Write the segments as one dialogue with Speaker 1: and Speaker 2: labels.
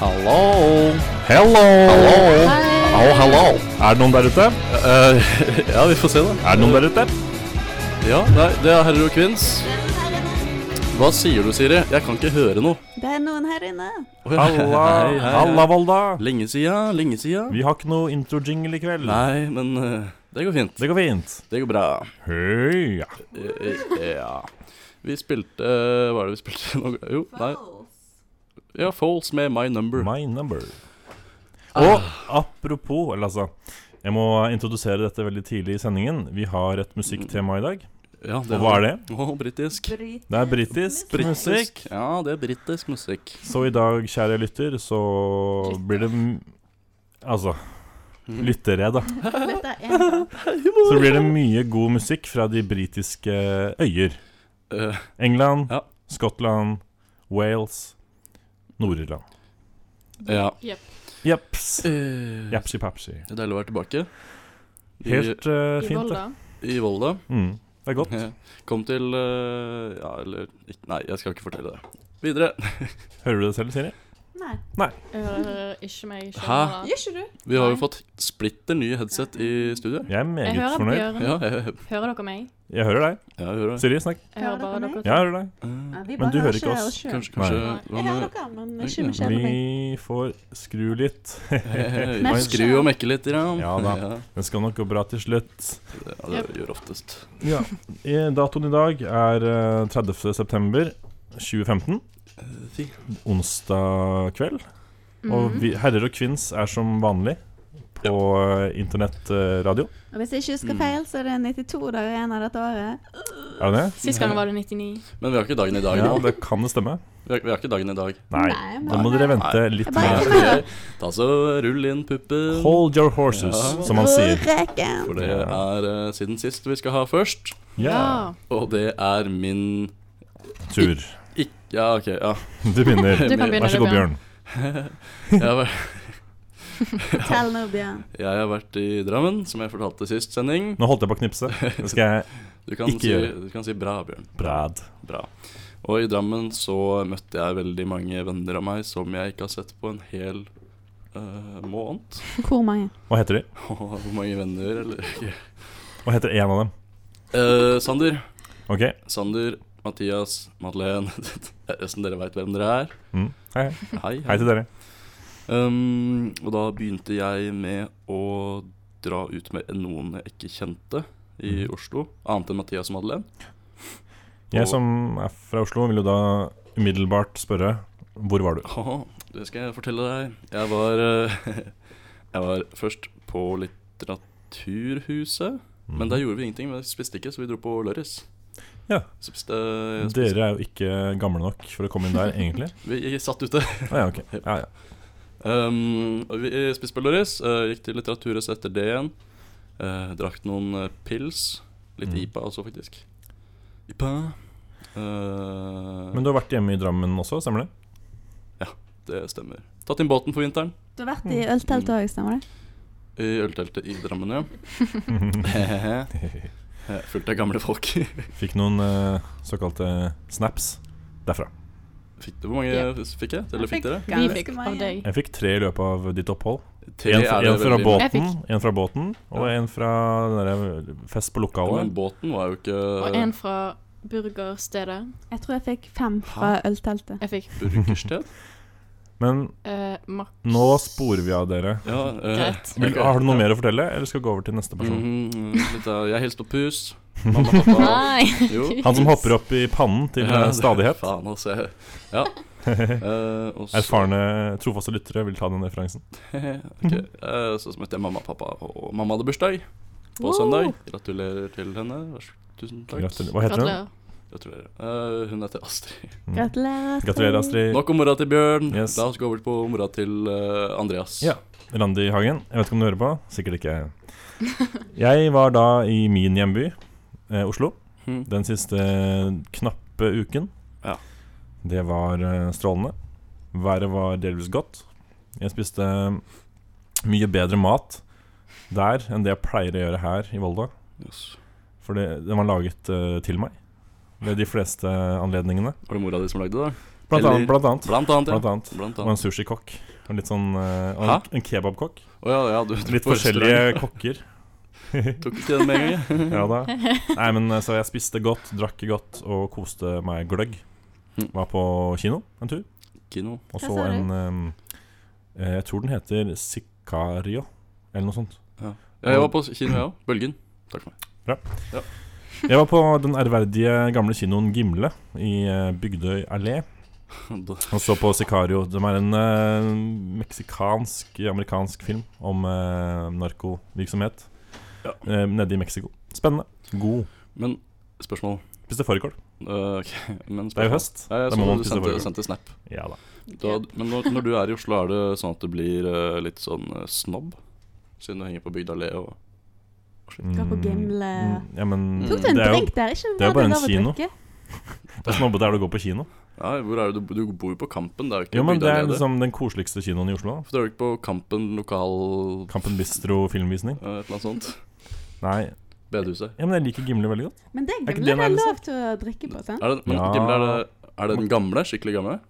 Speaker 1: Hallo!
Speaker 2: Hello!
Speaker 1: Hei!
Speaker 2: Hallo, hello! Er det noen der ute?
Speaker 1: Eh, ja, vi får se, da.
Speaker 2: Er det noen der ute?
Speaker 1: Ja, nei, det er herrer og kvinns. Hva sier du, Siri? Jeg kan ikke høre noe.
Speaker 3: Det er noen her inne.
Speaker 1: Å, ja.
Speaker 2: Halla,
Speaker 1: Hei, hei, hei.
Speaker 2: halla Volda!
Speaker 1: Lenge sida, lenge sida.
Speaker 2: Vi har ikke noe intro-jingle i kveld.
Speaker 1: Nei, men eh, det går fint.
Speaker 2: Det går fint.
Speaker 1: Det går bra.
Speaker 2: Høya.
Speaker 1: Eh, eh, Ja. Vi spilte eh, Hva er det vi spilte nå? Jo, nei. Ja, Foles med My Number.
Speaker 2: My number.
Speaker 1: Ah.
Speaker 2: Og apropos, eller altså Jeg må introdusere dette veldig tidlig i sendingen. Vi har et musikktema i dag.
Speaker 1: Ja,
Speaker 2: Og hva er det?
Speaker 1: Å, britisk.
Speaker 3: Bryt.
Speaker 2: Det er britisk musikk.
Speaker 1: Britisk. Ja, det er britisk musikk.
Speaker 2: Så i dag, kjære lytter, så blir det m- Altså Lyttere, da.
Speaker 3: Dette er en gang.
Speaker 2: Så blir det mye god musikk fra de britiske øyer.
Speaker 1: Eh,
Speaker 2: England,
Speaker 1: Ja.
Speaker 2: Skottland, Wales, Nord-Irland.
Speaker 1: ja.
Speaker 2: Jeps.
Speaker 1: Eh,
Speaker 2: Japsi papsi.
Speaker 1: Det er deilig å være tilbake. I,
Speaker 2: Helt eh,
Speaker 4: I
Speaker 2: fint, det.
Speaker 4: Volda.
Speaker 1: I Volda.
Speaker 2: Mm. Det er godt.
Speaker 1: Jeg Kom til eh, Ja, eller ikke, Nei, jeg skal ikke fortelle det. Videre.
Speaker 2: Hører du det selv, Siri?
Speaker 3: Nei.
Speaker 4: Jeg hører ikke meg selv.
Speaker 1: Hæ?
Speaker 4: da.
Speaker 3: Gjør ikke du?
Speaker 1: Vi har jo
Speaker 4: Nei.
Speaker 1: fått splitter nye headset i studio.
Speaker 2: Jeg er meget
Speaker 4: Jeg hører
Speaker 2: fornøyd.
Speaker 4: Bjørn.
Speaker 1: Ja, jeg,
Speaker 4: Hører dere meg?
Speaker 2: Jeg hører deg.
Speaker 1: ja, jeg hører det.
Speaker 2: Siri, snakk.
Speaker 4: Jeg hører bare
Speaker 3: Hører dere
Speaker 4: dere.
Speaker 2: Jeg hører deg.
Speaker 1: Eh,
Speaker 3: vi
Speaker 2: Men du hører ikke oss.
Speaker 3: selv.
Speaker 1: Kanskje, kanskje
Speaker 4: Nei.
Speaker 1: Hva
Speaker 3: Jeg hører
Speaker 1: med
Speaker 3: dere, men ikke med skjermen min.
Speaker 2: Vi får skru litt.
Speaker 1: Eh,
Speaker 3: Men-
Speaker 1: Skru og mekke litt. Ja,
Speaker 2: Ja da. Det skal nok gå bra til slutt.
Speaker 1: det, ja, det gjør oftest.
Speaker 2: Ja. I- Datoen i dag er eh, 30. september 2015.
Speaker 1: Eh, Fy.
Speaker 2: Onsdag kveld. Og
Speaker 4: Mhm.
Speaker 2: vi, herrer og kvinns er som vanlig på eh, internettradio.
Speaker 3: Og hvis jeg ikke husker
Speaker 2: Mm.
Speaker 3: feil, så er det 92 dager igjen av dette året.
Speaker 2: Er det det?
Speaker 4: Sist gang var det 99.
Speaker 1: Men vi har ikke dagen i dag
Speaker 2: Ja,
Speaker 1: nå.
Speaker 2: det kan det stemme.
Speaker 1: Vi har, vi har ikke dagen i dag.
Speaker 2: Nei,
Speaker 3: Nei,
Speaker 2: da må dere vente litt
Speaker 3: Nei.
Speaker 2: mer.
Speaker 1: Ok, Ta så rull inn puppen.
Speaker 2: Hold your horses,
Speaker 1: Ja.
Speaker 2: som han sier.
Speaker 3: Reken.
Speaker 1: For det er eh, siden sist vi skal ha først.
Speaker 2: Ja,
Speaker 1: Og det er min
Speaker 2: tur.
Speaker 1: ikk... Ja, OK. Ja.
Speaker 2: Du begynner.
Speaker 4: Du kan begynne,
Speaker 2: Vær så god, Bjørn.
Speaker 1: Jeg har vært
Speaker 3: Fortell nå, Bjørn.
Speaker 1: Jeg har vært i Drammen, som jeg fortalte sist sending.
Speaker 2: Nå holdt jeg på å knipse. Det skal jeg
Speaker 1: Du kan,
Speaker 2: Ikke
Speaker 1: si,
Speaker 2: gjør
Speaker 1: du kan si bra, Bjørn.
Speaker 2: Brad.
Speaker 1: Bra. Og i Drammen så møtte jeg veldig mange venner av meg som jeg ikke har sett på en hel eh, måned.
Speaker 3: Hvor mange?
Speaker 2: Hva heter de?
Speaker 1: Og Hvor mange venner, eller ikke.
Speaker 2: Hva heter en av dem?
Speaker 1: Eh, Sander.
Speaker 2: Ok.
Speaker 1: Sander, Mathias, Madeleine. Resten dere veit hvem dere er.
Speaker 2: Mm. Hei, hei.
Speaker 1: Hei.
Speaker 2: hei til dere.
Speaker 1: Um, og da begynte jeg med å dra ut med noen jeg ikke kjente
Speaker 2: Mhm.
Speaker 1: i Oslo. Annet enn Mathias og Madeleine.
Speaker 2: Jeg som er fra Oslo, vil jo da umiddelbart spørre hvor var du?
Speaker 1: Ja, det skal jeg fortelle deg. Jeg var, eh, jeg var først på Litteraturhuset.
Speaker 2: Mm.
Speaker 1: Men der gjorde vi ingenting. men Vi spiste ikke, så vi dro på Lørris.
Speaker 2: Ja.
Speaker 1: Spiste, jeg spiste.
Speaker 2: Dere er jo ikke gamle nok for å komme inn der, egentlig.
Speaker 1: Vi satt ute.
Speaker 2: Å ja, ok. Ja, ja.
Speaker 1: Um, og vi spiste på Lørris, eh, gikk til Litteraturhuset etter det igjen. Eh, drakk noen eh, pils. Litt
Speaker 2: Mm.
Speaker 1: IPA også, faktisk. IPA. Eh,
Speaker 2: Men du har vært hjemme i Drammen også, stemmer det?
Speaker 1: det stemmer. Tatt inn båten for vinteren.
Speaker 3: Du har vært i ølteltet òg, stemmer det?
Speaker 1: I ølteltet i Drammen, ja. Eh, Fullt av gamle folk.
Speaker 2: Fikk noen eh, såkalte snaps derfra.
Speaker 1: Fikk du, hvor mange
Speaker 4: Ja.
Speaker 1: f- fikk jeg? Eller fikk dere?
Speaker 4: Vi
Speaker 3: Ganske
Speaker 4: fikk av
Speaker 3: mange.
Speaker 4: deg.
Speaker 2: Jeg fikk tre i løpet av ditt opphold.
Speaker 1: Tre
Speaker 2: En,
Speaker 1: er
Speaker 2: fra-
Speaker 1: det
Speaker 2: en, fra,
Speaker 1: veldig-
Speaker 4: Jeg
Speaker 2: båten,
Speaker 4: fikk-
Speaker 2: en fra båten,
Speaker 1: Ja.
Speaker 2: og en fra den der eh, fest på
Speaker 1: Ja, Men
Speaker 2: lokalet.
Speaker 1: båten var jo ikke
Speaker 4: Og en fra burgerstedet.
Speaker 3: Jeg tror jeg fikk fem fra
Speaker 2: Mm.
Speaker 3: ølteltet.
Speaker 4: Jeg fikk
Speaker 1: burgersted.
Speaker 2: Men
Speaker 4: eh, Max.
Speaker 2: nå sporer vi av dere.
Speaker 1: Ja, eh,
Speaker 4: Greit.
Speaker 2: Vil,
Speaker 1: ok.
Speaker 2: har du noe mer å fortelle, eller skal vi gå over til neste person?
Speaker 1: Mhm, litt av, jeg hilste på pus. Mhm. Mamma og pappa.
Speaker 4: Nei!
Speaker 1: Jo.
Speaker 2: Han som hopper opp i pannen til eh,
Speaker 1: Ja, det-
Speaker 2: stadighet.
Speaker 1: Faen, altså. jeg- Ja. Eh, og så-
Speaker 2: Erfarne, trofaste lyttere vil ta den referansen.
Speaker 1: Ok, eh, Så møtte jeg mamma og pappa, og mamma hadde bursdag på
Speaker 4: Wow.
Speaker 1: søndag. Gratulerer til henne. Vær så- Tusen takk.
Speaker 2: Gratulerer. Hva heter hun?
Speaker 4: Gratulerer.
Speaker 1: Gratulerer. Eh, hun heter Astrid.
Speaker 2: Mm.
Speaker 3: Gratulerer.
Speaker 2: Gratulerer, Astrid.
Speaker 1: Nok om mora til Bjørn.
Speaker 2: Eh, Yes.
Speaker 1: La oss gå over på mora til eh, Andreas.
Speaker 2: Ja. Randi Hagen, jeg vet ikke om du hører på? Sikkert ikke. Jeg var da i min hjemby, eh, Oslo,
Speaker 1: Mhm.
Speaker 2: den siste knappe uken.
Speaker 1: Ja.
Speaker 2: Det var eh, strålende. Været var delvis godt. Jeg spiste eh, mye bedre mat der enn det jeg pleier å gjøre her i Volda.
Speaker 1: Yes.
Speaker 2: For det, den var laget eh, til meg ved de fleste anledningene.
Speaker 1: Var det mora di som lagde det?
Speaker 2: Blant
Speaker 1: Eller-
Speaker 2: annet. Blant annet.
Speaker 1: Blant annet, ja.
Speaker 2: Blant annet.
Speaker 1: Blant
Speaker 2: Og en
Speaker 1: annet.
Speaker 2: sushikokk. Og litt sånn eh, og
Speaker 1: Hæ?
Speaker 2: en- En kebabkokk.
Speaker 1: Å ja, ja, du, du
Speaker 2: Litt
Speaker 1: på restaurant.
Speaker 2: forskjellige kokker.
Speaker 1: Tok ikke den med en gang, jeg.
Speaker 2: Ja da. Nei, men eh, så jeg spiste godt, drakk godt og koste meg gløgg.
Speaker 1: Mm.
Speaker 2: Var på kino en tur.
Speaker 1: Ikke noe.
Speaker 2: Og
Speaker 3: Hva
Speaker 2: så
Speaker 3: sa du?
Speaker 2: en ehm, eh, Jeg tror den heter Sicario, eller noe sånt.
Speaker 1: Ja, jeg var på kino, jeg òg. Bølgen. Takk for meg.
Speaker 2: Jeg var på den ærverdige gamle kinoen Gimle i eh, Bygdøy allé.
Speaker 1: Da-
Speaker 2: Og så på Sicario. De er en eh, meksikansk-amerikansk film om eh, narkovirksomhet
Speaker 1: Ja.
Speaker 2: eh, nede i Mexico. Spennende. God.
Speaker 1: Men spørsmål
Speaker 2: Spiste fårikål.
Speaker 1: Eh, ok, men spørsmål.
Speaker 2: Det er jo høst.
Speaker 1: Ja, jeg
Speaker 2: Da
Speaker 1: så
Speaker 2: må man
Speaker 1: du
Speaker 2: spise
Speaker 1: sendte,
Speaker 2: fårikål.
Speaker 1: sendte snap.
Speaker 2: Ja da.
Speaker 1: Du har, men når, når du er i Oslo, er det sånn at du blir eh, litt sånn eh, snobb? Siden du henger på Bygda allé og
Speaker 3: Dra på Gimle.
Speaker 2: Mm, ja, men
Speaker 1: Mm.
Speaker 3: Tok du en
Speaker 2: det er jo
Speaker 3: drink der? Ikke
Speaker 2: det er jo bare en
Speaker 3: verdt å
Speaker 2: kino.
Speaker 3: drikke.
Speaker 2: det er snobbete er det å gå på kino.
Speaker 1: Ja, hvor er det du Du bor jo på Kampen, det er jo ikke
Speaker 2: Jo, men
Speaker 1: Bygda
Speaker 2: Det er
Speaker 1: allé. det.
Speaker 2: liksom den koseligste kinoen i Oslo. da.
Speaker 1: For det er jo ikke på Kampen lokal
Speaker 2: Kampen Bistro filmvisning.
Speaker 1: eh, et eller annet sånt.
Speaker 2: Nei,
Speaker 1: Bedhuset.
Speaker 2: ja, men jeg liker Gimle veldig godt.
Speaker 3: Men det
Speaker 2: Er ikke
Speaker 3: Gimle
Speaker 2: det
Speaker 3: det er
Speaker 2: nærmest?
Speaker 3: lov til å drikke på, sant?
Speaker 1: Er det, men
Speaker 2: Ja.
Speaker 1: Gimle, er det, er det den gamle? Skikkelig gamle?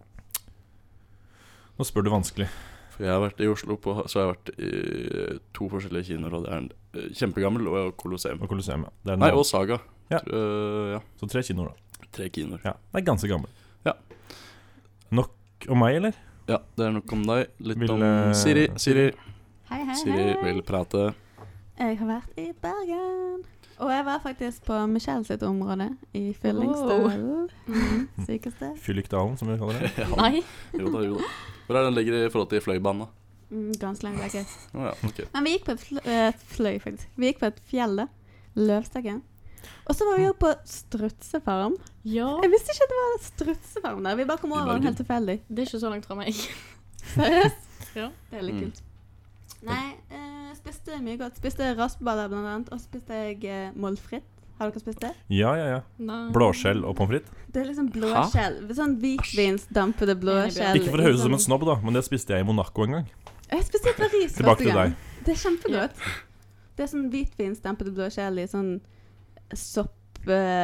Speaker 2: Nå spør du vanskelig.
Speaker 1: For jeg har vært i Oslo på, så har jeg vært i eh, to forskjellige kinoer, og det er en eh, kjempegammel og Colosseum.
Speaker 2: Og Colosseum, ja. Det er
Speaker 1: Nei,
Speaker 2: nå-
Speaker 1: og Saga.
Speaker 2: Ja.
Speaker 1: Tror- eh, ja.
Speaker 2: Så tre kinoer, da.
Speaker 1: Tre kinoer.
Speaker 2: Ja, Det er ganske gammel.
Speaker 1: Ja.
Speaker 2: Nok om meg, eller?
Speaker 1: Ja, det er nok om deg. Litt
Speaker 2: Vil,
Speaker 1: om
Speaker 2: eh,
Speaker 1: Siri. Siri,
Speaker 3: Hei, hei,
Speaker 1: Siri
Speaker 3: hei.
Speaker 1: vil prate.
Speaker 3: Jeg har vært i Bergen. Og jeg var faktisk på Michelle sitt område i Fyllingsdalen. Mm, sykeste.
Speaker 2: Fyllikdalen, som vi kaller det.
Speaker 1: Ja,
Speaker 4: Nei.
Speaker 1: jo da, jo da. Hvor er den ligger i forhold til Fløibanen, da?
Speaker 3: Mm, ganske langt vekk.
Speaker 1: Å ja, ok.
Speaker 3: Men vi gikk på et fl eh, fløy, faktisk. Vi gikk på et fjell, da. Løvstakken. Og så var vi jo på strutsefarm.
Speaker 4: Ja,
Speaker 3: Jeg visste ikke at det var strutsefarm der. Vi bare kom
Speaker 1: I
Speaker 3: over
Speaker 1: Bergen.
Speaker 3: den helt tilfeldig.
Speaker 4: det er ikke så langt fra meg.
Speaker 3: Seriøst?
Speaker 4: Ja.
Speaker 3: Det er litt
Speaker 1: Mm.
Speaker 3: kult. Nei, eh, spiste mye godt. Spiste raspeballer, blant annet. Og så spiste jeg eh, målfritt. Har dere spist det?
Speaker 2: Ja, ja, ja.
Speaker 4: Nei.
Speaker 2: Blåskjell og pommes frites.
Speaker 3: Det er liksom
Speaker 1: Hæ?
Speaker 3: blåskjell. Sånn hvitvinsdampede blåskjell.
Speaker 2: Ikke for å høres ut som en snobb, da, men det spiste jeg i Monaco en gang.
Speaker 3: Jeg spiste i Paris
Speaker 2: Tilbake
Speaker 3: første
Speaker 2: til
Speaker 3: gang.
Speaker 2: deg.
Speaker 3: Det er kjempegodt. Det er sånn hvitvinsdampede blåskjell i sånn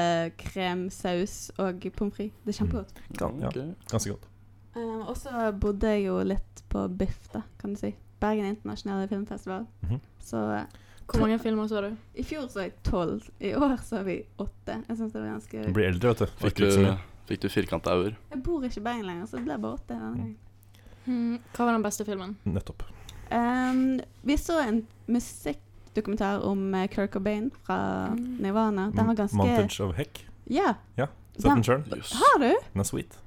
Speaker 3: soppkremsaus og pommes frites. Det er
Speaker 1: Mm.
Speaker 3: kjempegodt.
Speaker 2: Ja, ja.
Speaker 1: Ok.
Speaker 2: Ganske godt.
Speaker 3: Um, og så bodde jeg jo litt på Biff, da, kan du si. Bergen internasjonale filmfestival.
Speaker 2: Mhm.
Speaker 3: Så eh,
Speaker 4: Hvor mange filmer så du?
Speaker 3: i fjor så jeg tolv. I år så har vi åtte. Jeg synes det var
Speaker 2: Du
Speaker 3: ganske
Speaker 2: blir eldre, vet du.
Speaker 1: Fikk
Speaker 2: Fikk
Speaker 1: du,
Speaker 2: litt så mye.
Speaker 1: fikk du firkanta øyer?
Speaker 3: Jeg bor ikke i Bergen lenger, så det ble bare åtte denne
Speaker 2: Mm.
Speaker 3: gangen.
Speaker 4: Hmm, Hva var den beste filmen?
Speaker 2: Nettopp.
Speaker 3: Um, vi så en musikkdokumentar om eh, Kurt Cobain fra
Speaker 4: Mm.
Speaker 3: Nirvana. Den var ganske
Speaker 2: Montage of Heck.
Speaker 3: Ja.
Speaker 2: Ja, Sett
Speaker 3: Den,
Speaker 2: den sjøl.
Speaker 1: Jøss.
Speaker 3: har du?
Speaker 2: Den er sweet.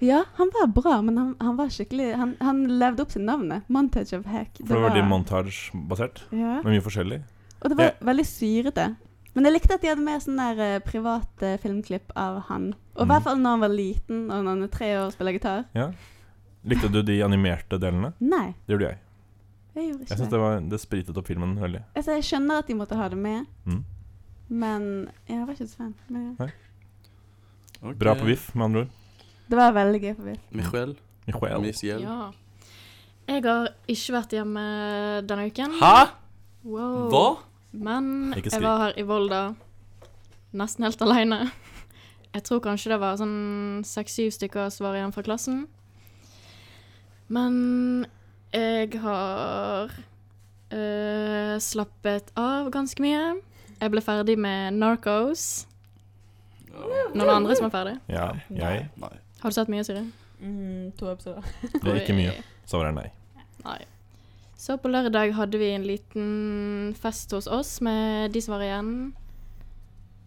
Speaker 3: Ja, han var bra, men han, han var skikkelig Han, han levde opp til navnet. Montage of Heck.
Speaker 2: For det var veldig montage-basert.
Speaker 3: ja.
Speaker 2: Med mye forskjellig.
Speaker 3: Og det var veldig syrete. Men jeg likte at de hadde med sånn der eh, private filmklipp av han. Og i
Speaker 2: Mhm.
Speaker 3: hvert fall når han var liten, og når han er tre år og spiller gitar.
Speaker 2: Likte du de animerte delene?
Speaker 3: Nei,
Speaker 2: Det gjorde jeg.
Speaker 3: jeg gjorde
Speaker 2: Jeg
Speaker 3: ikke
Speaker 2: synes
Speaker 3: det.
Speaker 2: det, var, det spritet opp filmen veldig.
Speaker 3: Altså, jeg skjønner at de måtte ha det med,
Speaker 2: Mhm.
Speaker 3: men jeg var ikke så fan. Men, ja.
Speaker 1: Ok.
Speaker 2: Bra på VIF, med andre ord.
Speaker 3: Det var veldig gøy for Biff.
Speaker 1: Michel.
Speaker 2: Michael.
Speaker 1: Michel.
Speaker 4: Ja. Jeg har ikke vært hjemme denne uken.
Speaker 1: Hæ?
Speaker 4: Wow.
Speaker 1: Hva?
Speaker 4: Men
Speaker 2: Ikke
Speaker 4: jeg
Speaker 2: skrik.
Speaker 4: var her i Volda nesten helt alene. Jeg tror kanskje det var sånn seks-syv stykker som var igjen fra klassen. Men jeg har eh, slappet av ganske mye. Jeg ble ferdig med Narcos.
Speaker 1: Ja.
Speaker 4: Noen andre som er ferdig?
Speaker 2: Ja, jeg
Speaker 1: Nei.
Speaker 4: Har du sett mye, Siri?
Speaker 3: Mm, to episoder.
Speaker 2: ble ikke mye. Svaret er nei.
Speaker 4: Nei. Så på lørdag hadde vi en liten fest hos oss med de som var igjen.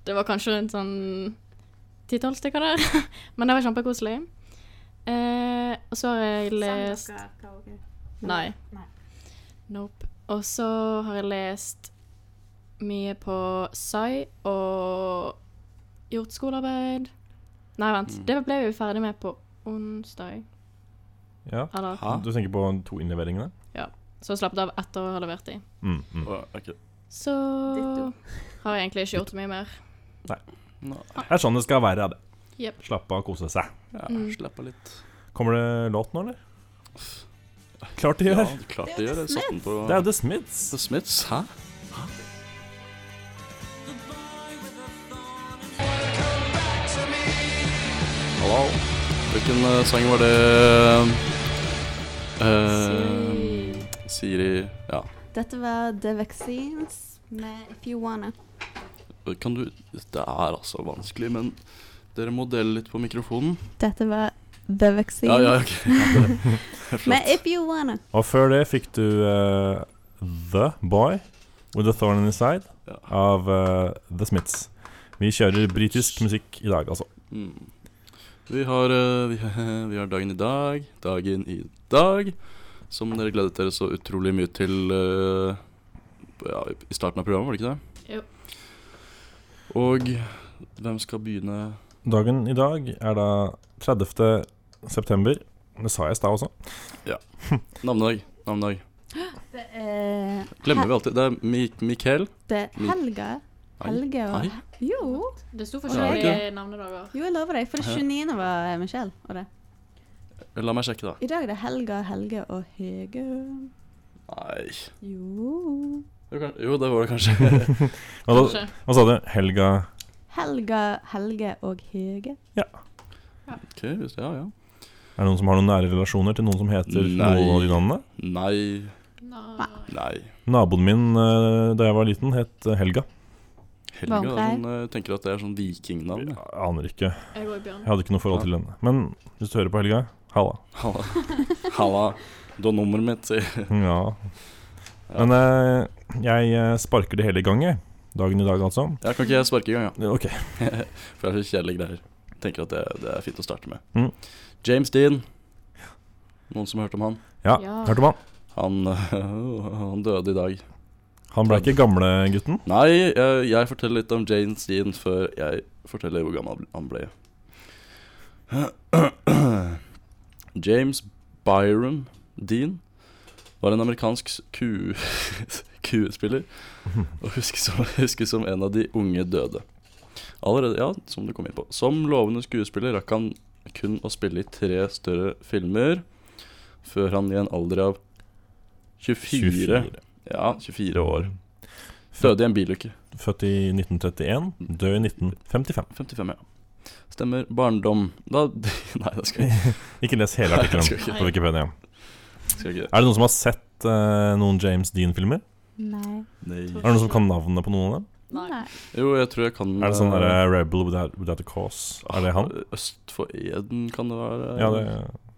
Speaker 4: Det var kanskje rundt sånn ti-tolv stykker der, men det var kjempekoselig. Eh, og så har jeg lest Nei.
Speaker 3: Nei.
Speaker 4: Nope. Og så har jeg lest mye på Sai og gjort skolearbeid. Nei, vent.
Speaker 1: Mm.
Speaker 4: Det ble vi ferdig med på onsdag.
Speaker 2: Ja.
Speaker 4: Eller
Speaker 1: Hæ?
Speaker 2: Du tenker på to innleveringene?
Speaker 4: så slapp det av etter å ha levert de.
Speaker 2: Mm, mm.
Speaker 1: Å, ok.
Speaker 4: Så
Speaker 3: Ditto.
Speaker 4: har jeg egentlig ikke gjort så mye mer.
Speaker 1: Eh, Nei.
Speaker 2: Det er sånn det skal være. det.
Speaker 4: Jep.
Speaker 2: Slappe av og kose seg.
Speaker 1: Ja,
Speaker 4: Mm.
Speaker 1: slapp av litt.
Speaker 2: Kommer det låt nå, eller? Klart det gjør.
Speaker 1: Ja, klart det
Speaker 3: Det er jo
Speaker 1: gjør. Jeg satte den på
Speaker 2: Det er jo The Smiths.
Speaker 1: The Smiths. Hæ? Hallo. Hvilken eh, sang var det eh, Siri Ja.
Speaker 3: Dette var The Vaccines med If You Wanna.
Speaker 1: Kan du Det er altså vanskelig, men dere må dele litt på mikrofonen.
Speaker 3: Dette var The Vaccines
Speaker 1: Ja, ja, ok. Ja, det
Speaker 3: med
Speaker 1: er flott.
Speaker 3: If You Wanna.
Speaker 2: Og før det fikk du eh, The Boy With a Thorn in His Side
Speaker 1: Ja.
Speaker 2: av eh, The Smiths. Vi kjører britisk musikk i dag, altså.
Speaker 1: Mm. Vi har, eh, vi, vi har dagen i dag, dagen i dag, som dere gledet dere så utrolig mye til eh, ja, i starten av programmet, var det ikke det?
Speaker 4: Jo.
Speaker 1: Og hvem skal begynne?
Speaker 2: Dagen i dag er da 30. september. Det sa jeg i stad også.
Speaker 1: Navnedag. Navnedag.
Speaker 3: Det eh, er,
Speaker 1: Glemmer vi alltid. Det er Mi Mikael.
Speaker 3: det er Helga.
Speaker 1: Nei.
Speaker 3: Helge og
Speaker 1: Nei.
Speaker 3: Jo.
Speaker 4: Det sto
Speaker 1: forskjellige
Speaker 4: forskjellige navnedager.
Speaker 3: jo, jeg lover deg. For det
Speaker 1: Ja.
Speaker 3: 29. var eh, Michelle. Og det.
Speaker 1: La meg sjekke, da.
Speaker 3: I dag er det Helga, Helge og Hege.
Speaker 1: Nei
Speaker 3: Jo.
Speaker 1: Jo, kan- Jo, det var det kanskje.
Speaker 2: Hva, da- hva sa du? Helga
Speaker 3: Helga, Helge og Hege.
Speaker 1: ok, hvis det, ja, ja.
Speaker 2: Er det noen som har noen nære relasjoner til noen som heter
Speaker 1: Nei.
Speaker 2: noen av de navnene?
Speaker 1: Nei,
Speaker 4: Nei.
Speaker 1: nei.
Speaker 2: Naboen min eh, da jeg var liten, het Helga.
Speaker 1: Helga det er
Speaker 3: Vampreir.
Speaker 1: sånn, eh, tenker at det er sånn vikingnavn.
Speaker 2: Jeg
Speaker 1: jeg.
Speaker 2: aner ikke.
Speaker 4: Jeg går i Bjørn.
Speaker 2: Jeg hadde ikke noe forhold til henne. Men hvis du hører på Helga, halla.
Speaker 1: Halla. Halla. Du har nummeret mitt, sier
Speaker 2: Ja. Men eh, jeg eh, sparker det hele i gang, jeg. Dagen i dag, altså.
Speaker 1: Ja, kan ikke jeg sparke i gang, ja?
Speaker 2: Ok.
Speaker 1: For det er så kjedelige greier. Tenker at det, det er fint å starte med.
Speaker 2: Mm.
Speaker 1: James Dean. Noen som har hørt om han?
Speaker 2: Ja,
Speaker 4: Ja.
Speaker 2: hørte man.
Speaker 1: Han, han døde i dag.
Speaker 2: Han ble ikke gamlegutten.
Speaker 1: Nei, jeg, jeg forteller litt om James Dean før jeg forteller hvor gammel han ble. James Byron Dean var en amerikansk ku- skuespiller og huskes som, huskes som en av de unge døde. Allerede, ja, som du kom inn på. Som lovende skuespiller rakk han kun å spille i tre større filmer før han i en alder av 24, Ja, 24 år døde i en bilulykke.
Speaker 2: Født i 1931, død i 1955.
Speaker 1: 55, ja. Stemmer. Barndom da, Nei, det skal jeg ikke.
Speaker 2: Ikke les hele
Speaker 1: Nei, jeg
Speaker 2: artikkelen
Speaker 1: skal ikke,
Speaker 2: på Wikipedia.
Speaker 1: skal jeg ikke.
Speaker 2: Er det noen som har sett eh, noen James Dean-filmer?
Speaker 3: Nei.
Speaker 1: Nei.
Speaker 2: Er det noen som kan navnet på noen av dem?
Speaker 4: Nei.
Speaker 1: Jo, jeg tror jeg kan
Speaker 2: Er det sånn der eh, Rebel without, without a Cause? Er det han?
Speaker 1: Øst for Eden kan det være.
Speaker 2: Ja, det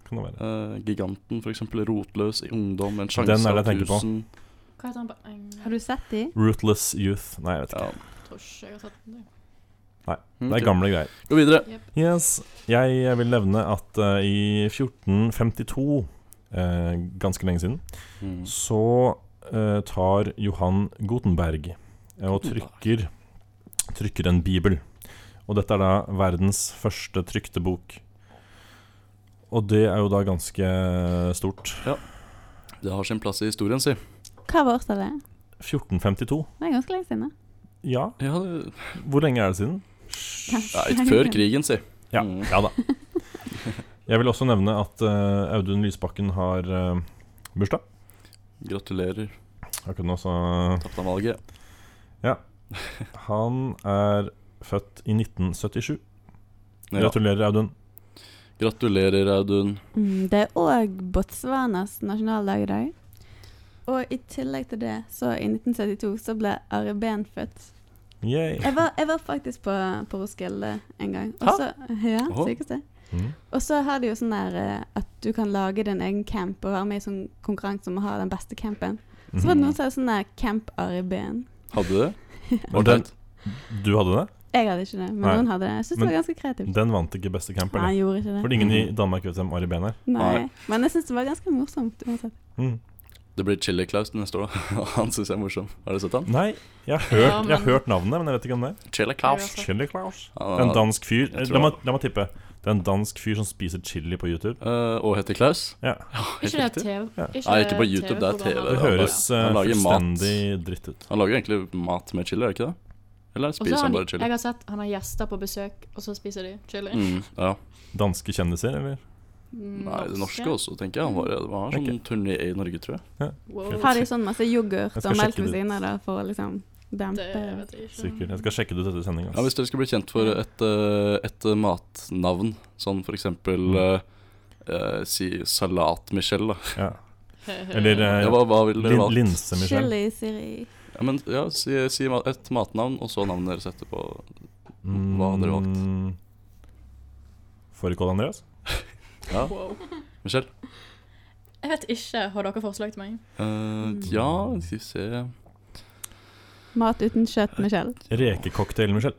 Speaker 2: kan det være.
Speaker 1: Eh, giganten, for eksempel. Rotløs i ungdom. En
Speaker 2: Den
Speaker 1: sjanse
Speaker 2: er
Speaker 1: av
Speaker 2: det jeg tenker på.
Speaker 1: tusen.
Speaker 4: Hva heter han på eng...
Speaker 3: Har du sett de?
Speaker 2: Rootless Youth. Nei, jeg vet ikke.
Speaker 1: Ja.
Speaker 4: Tror ikke jeg har sett den.
Speaker 1: Mm,
Speaker 2: Det
Speaker 1: ok.
Speaker 2: er gamle greier.
Speaker 1: Gå videre.
Speaker 2: Yes, jeg vil nevne at eh, i 1452, eh, ganske lenge siden,
Speaker 1: Mm.
Speaker 2: så eh, tar Johan Gutenberg eh, og trykker, trykker en bibel. Og dette er da verdens første trykte bok. Og det er jo da ganske stort.
Speaker 1: Det har sin plass i historien, si.
Speaker 3: Hva var årstallet?
Speaker 2: 1452.
Speaker 3: Det er ganske lenge siden. da.
Speaker 2: Ja,
Speaker 1: Ja, det,
Speaker 2: hvor lenge er det siden?
Speaker 1: nei, før krigen, si.
Speaker 2: Ja,
Speaker 1: Mm.
Speaker 2: ja da. Jeg vil også nevne at eh, Audun Lysbakken har eh, bursdag.
Speaker 1: Gratulerer.
Speaker 2: Akkurat nå så
Speaker 1: Tapte han valget.
Speaker 2: Han er født i 1977.
Speaker 1: Ja.
Speaker 2: Gratulerer, Audun.
Speaker 1: Gratulerer, Audun.
Speaker 3: Mm, det er òg Botswanas nasjonaldag i dag. Og i tillegg til det, så i 1972, så ble Ari Behn født.
Speaker 2: Yay.
Speaker 3: Jeg var, jeg var faktisk på, på Roskilde en gang. Og
Speaker 1: Hæ?
Speaker 3: så, ja,
Speaker 1: Åhå.
Speaker 3: sykeste.
Speaker 2: Mm.
Speaker 3: Og så har de jo sånn der eh, at du kan lage din egen camp og være med i sånn konkurranse om å ha den beste campen. Så
Speaker 2: Mm.
Speaker 3: var det noen som hadde sånn der Camp Ari Behn.
Speaker 1: Hadde du det?
Speaker 2: Men
Speaker 1: Var det
Speaker 2: den, du hadde det?
Speaker 3: Jeg hadde ikke det, men
Speaker 2: Nei.
Speaker 3: noen hadde det. Jeg syns det
Speaker 2: Men-
Speaker 3: var ganske kreativt.
Speaker 2: Den vant ikke Beste camp,
Speaker 3: Nei,
Speaker 2: eller?
Speaker 3: jeg gjorde ikke det.
Speaker 2: Fordi ingen i Danmark vet hvem Ari Behn er.
Speaker 3: Nei.
Speaker 1: Nei.
Speaker 3: Men jeg syns det var ganske morsomt uansett.
Speaker 2: Mm.
Speaker 1: Det blir Chili Klaus neste år, da. Han syns jeg er morsom. Har du sett han?
Speaker 2: Nei, jeg har, hørt,
Speaker 4: Ja,
Speaker 2: jeg har
Speaker 4: men-
Speaker 2: hørt navnet, men jeg vet ikke om det. er.
Speaker 1: Chili
Speaker 4: Klaus.
Speaker 2: Chili Claus. Det er
Speaker 1: Han
Speaker 2: En
Speaker 1: er-
Speaker 2: dansk fyr
Speaker 1: Jeg tror
Speaker 2: la meg,
Speaker 1: han-
Speaker 2: la meg tippe. Det er en dansk fyr som spiser chili på YouTube.
Speaker 1: Eh, og heter Klaus.
Speaker 2: Ja.
Speaker 1: helt
Speaker 4: Ikke det
Speaker 1: riktig.
Speaker 4: TV?
Speaker 2: Ja.
Speaker 1: Nei, ikke på YouTube, det er TV.
Speaker 2: Det
Speaker 1: Ja,
Speaker 2: høres eh,
Speaker 1: han lager mat.
Speaker 2: fullstendig dritt ut.
Speaker 1: Han lager jo egentlig mat med chili, er det ikke det? Eller
Speaker 4: Og så
Speaker 1: spiser
Speaker 4: har
Speaker 1: han
Speaker 4: han,
Speaker 1: bare chili?
Speaker 4: jeg har sett han har gjester på besøk, og så spiser de chili. Mm,
Speaker 1: Mm, ja.
Speaker 2: Danske kjendiser,
Speaker 3: Mm.
Speaker 2: eller?
Speaker 1: Mm. Nei, det norske også, tenker jeg. Han var, det var sånn turné i Norge, tror jeg.
Speaker 4: Wow.
Speaker 3: Har de sånn masse yoghurt
Speaker 2: Jeg
Speaker 3: og
Speaker 2: skal
Speaker 3: melk
Speaker 2: sjekke
Speaker 3: ved
Speaker 2: det
Speaker 3: siden av da, for å liksom
Speaker 4: Det
Speaker 3: Damper.
Speaker 4: vet jeg ikke.
Speaker 2: Sikkert. Jeg skal sjekke det ut etter sending.
Speaker 1: Ja, Hvis
Speaker 2: ass.
Speaker 1: dere skal bli kjent for et, eh, et eh, matnavn, sånn for eksempel
Speaker 2: Mm.
Speaker 1: eh, eh, Si Salat-Michelle, da.
Speaker 2: Ja. Eller eh,
Speaker 1: Ja, hva, hva ville dere
Speaker 2: lin
Speaker 1: valgt?
Speaker 2: linse-Michelle.
Speaker 3: Chili Siri.
Speaker 1: Ja, men, ja, si, si ma- et matnavn, og så navnet deres etterpå.
Speaker 2: Mm.
Speaker 1: Hva hadde dere valgt?
Speaker 2: Fårikål, Andreas?
Speaker 1: Ja,
Speaker 4: Wow.
Speaker 1: Michelle?
Speaker 4: Jeg vet ikke. Har dere forslag til meg?
Speaker 1: Eh,
Speaker 4: Mm.
Speaker 1: ja, skal vi se
Speaker 3: Mat uten kjøtt, Michelle.
Speaker 2: Rekecocktail, Michelle.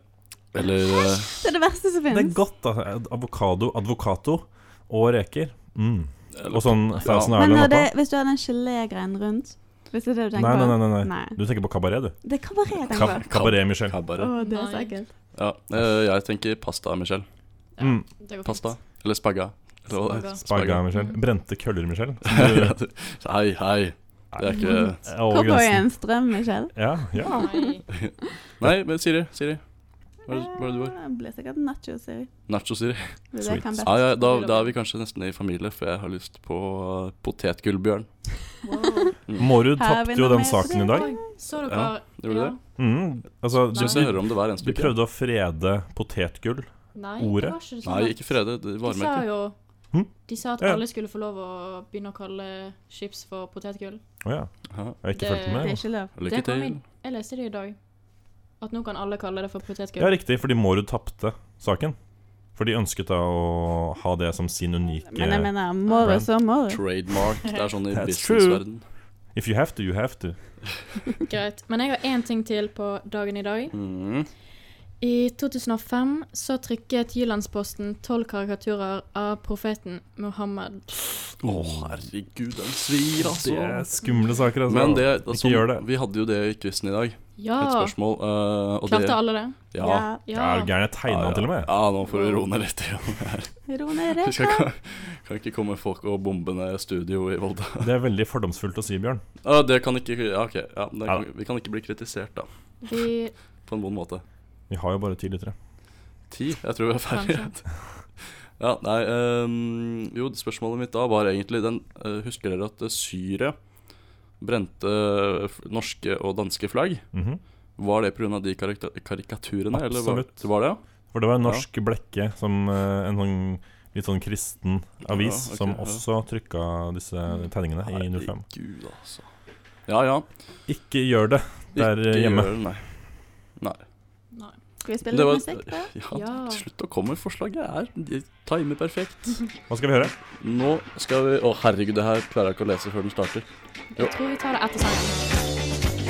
Speaker 1: Eller eh,
Speaker 3: Det er det verste som
Speaker 2: Det er
Speaker 3: finnes.
Speaker 2: godt, da. Avokado, advokato og reker. Mm.
Speaker 1: eller-
Speaker 2: Og sånn Thousand
Speaker 3: Men når
Speaker 2: Island
Speaker 3: det,
Speaker 2: oppå.
Speaker 3: hvis du har den gelégreien rundt Hvis det er det du
Speaker 2: Nei,
Speaker 3: tenker
Speaker 2: nei, nei,
Speaker 3: på?
Speaker 2: nei, nei.
Speaker 3: Nei.
Speaker 2: Du tenker på kabaret, du.
Speaker 3: Det er kabaret jeg
Speaker 2: Ka
Speaker 3: tenker på.
Speaker 2: kabaret, Michelle.
Speaker 3: Å,
Speaker 1: Kabaret.
Speaker 3: det er så
Speaker 4: Nei.
Speaker 3: ekkelt.
Speaker 1: Ja, eh, jeg tenker pasta, Michelle.
Speaker 4: Ja,
Speaker 2: Mm.
Speaker 4: det går fint.
Speaker 1: Pasta. Eller spagga. Eller hva det er.
Speaker 2: Sparga, Michelle.
Speaker 3: Mm.
Speaker 2: Brente køller, Michelle.
Speaker 1: Ja, du- hei, hei. Det er ikke
Speaker 2: Er over grensen.
Speaker 3: Cowboyens drøm, Michelle.
Speaker 2: eh, Ja, ja.
Speaker 4: Nei.
Speaker 1: Nei, men Siri. Siri. Hva er det- hva er det du har?
Speaker 3: Eh, blir sikkert nacho, Siri.
Speaker 1: Nacho, Siri.
Speaker 3: Det er det
Speaker 2: Sweet. Ah,
Speaker 3: jeg kan
Speaker 1: Ja,
Speaker 3: best.
Speaker 1: ja, da, da er vi kanskje nesten i familie, for jeg har lyst på eh, potetgullbjørn.
Speaker 4: Wow.
Speaker 2: Mårud
Speaker 3: Her er vi
Speaker 2: tapte jo
Speaker 3: nå
Speaker 2: den
Speaker 3: med
Speaker 2: saken i dag.
Speaker 3: Siri.
Speaker 4: Så dere
Speaker 1: Ja, gjorde du det?
Speaker 2: Mm. Altså,
Speaker 1: Jeg synes
Speaker 2: de,
Speaker 1: jeg hører om det hver eneste
Speaker 2: de
Speaker 1: uke.
Speaker 2: prøvde å frede potetgull.
Speaker 4: Nei,
Speaker 2: Ordet?
Speaker 4: det var ikke sånn.
Speaker 1: Nei, ikke frede. Det
Speaker 4: De sa
Speaker 1: varmer ikke.
Speaker 4: jo
Speaker 2: Hm?
Speaker 4: De sa at
Speaker 2: Ja, ja.
Speaker 4: alle skulle få lov å begynne å kalle chips for potetgull.
Speaker 2: Å ja.
Speaker 1: Ja,
Speaker 2: Jeg har ikke
Speaker 4: Det-
Speaker 2: fulgt
Speaker 3: Det er
Speaker 2: med.
Speaker 3: ikke lov.
Speaker 1: Lykke
Speaker 4: Det kom
Speaker 1: til.
Speaker 4: inn. Jeg leste det i dag. At nå kan alle kalle det for
Speaker 2: Ja,
Speaker 4: potetgull.
Speaker 2: riktig, fordi Mårud tapte saken. For de ønsket da å ha det som sin
Speaker 3: Men jeg
Speaker 2: unike
Speaker 3: mener, moro
Speaker 2: Brand.
Speaker 3: så moro.
Speaker 1: Trademark. Det er sånn i
Speaker 2: That's true.
Speaker 1: businessverden.
Speaker 2: If you have to, you have to.
Speaker 4: Greit. Men jeg har én ting til på dagen i dag.
Speaker 1: Mm.
Speaker 4: I 2005 så trykket Jyllandsposten tolv karikaturer av profeten Muhammed.
Speaker 1: Å, herregud, den svir,
Speaker 2: Det er
Speaker 1: altså.
Speaker 2: skumle saker, altså.
Speaker 1: Men det,
Speaker 2: Ikke
Speaker 1: altså,
Speaker 2: gjør det.
Speaker 1: vi hadde jo det i quizen i dag, et
Speaker 4: Ja!
Speaker 1: spørsmål. eh, og det,
Speaker 4: Klarte alle det?
Speaker 1: ja,
Speaker 2: Ja, er du
Speaker 4: Ja.
Speaker 2: gæren? Jeg tegna den til og med.
Speaker 1: Ja, nå får du roe ned litt. igjen her.
Speaker 3: Ro ned
Speaker 1: Vi skal,
Speaker 3: reka.
Speaker 1: kan, kan ikke komme folk og bombe ned studio i Volda.
Speaker 2: Det er veldig fordomsfullt å si, Bjørn.
Speaker 1: Ja, det kan ikke Ja, OK. Ja, det
Speaker 2: Ja.
Speaker 1: kan, vi kan ikke bli kritisert, da.
Speaker 4: Vi
Speaker 1: På en vond måte.
Speaker 2: Vi har jo bare ti lyttere.
Speaker 1: Ti? Jeg tror vi er ferdige. Ja, nei ehm, Jo, spørsmålet mitt da var egentlig den eh, Husker dere at eh, Syria brente eh, f- norske og danske flagg?
Speaker 2: Mhm.
Speaker 1: Var det pga. de karikta- karikaturene? eller var-
Speaker 2: Absolutt.
Speaker 1: Var det, ja?
Speaker 2: For det var en norsk blekke, som eh, en sånn litt sånn kristen avis,
Speaker 1: Ja, ok,
Speaker 2: som
Speaker 1: ja.
Speaker 2: også trykka disse tegningene i 05.
Speaker 1: Herregud, altså. Ja ja.
Speaker 2: Ikke gjør det der
Speaker 1: Ikke
Speaker 2: hjemme.
Speaker 1: gjør det, nei. Nei.
Speaker 4: Nei.
Speaker 3: Skal vi spille
Speaker 1: Det
Speaker 3: litt
Speaker 1: var-
Speaker 3: musikk, da?
Speaker 1: Ja,
Speaker 4: Ja.
Speaker 1: Slutt å komme med forslag. Jeg er jeg timer perfekt.
Speaker 2: Hva skal vi høre?
Speaker 1: Nå skal vi Å, herregud, det her klarer jeg ikke å lese før den starter. Jo.
Speaker 4: Jeg tror vi tar det etter sangen.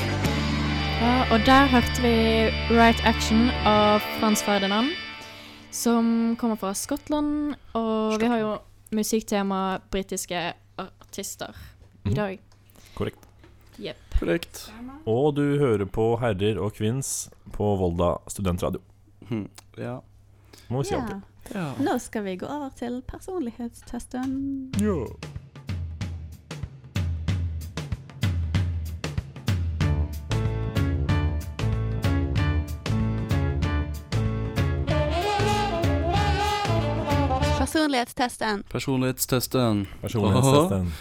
Speaker 4: Ja, og der hørte vi Right Action av Frans Ferdinand, som kommer fra Skottland. Og vi har jo musikktema britiske artister i
Speaker 2: Mhm.
Speaker 4: dag.
Speaker 2: Korrekt.
Speaker 4: Jepp.
Speaker 1: Korrekt.
Speaker 2: Og du hører på Herrer og Kvinns på Volda studentradio.
Speaker 1: Hm, Ja.
Speaker 2: Må vi si alltid.
Speaker 3: Ja.
Speaker 1: ja.
Speaker 3: Nå skal vi gå over til personlighetstesten.
Speaker 2: Ja.
Speaker 3: Personlighetstesten.
Speaker 1: Personlighetstesten.
Speaker 2: Personlighetstesten.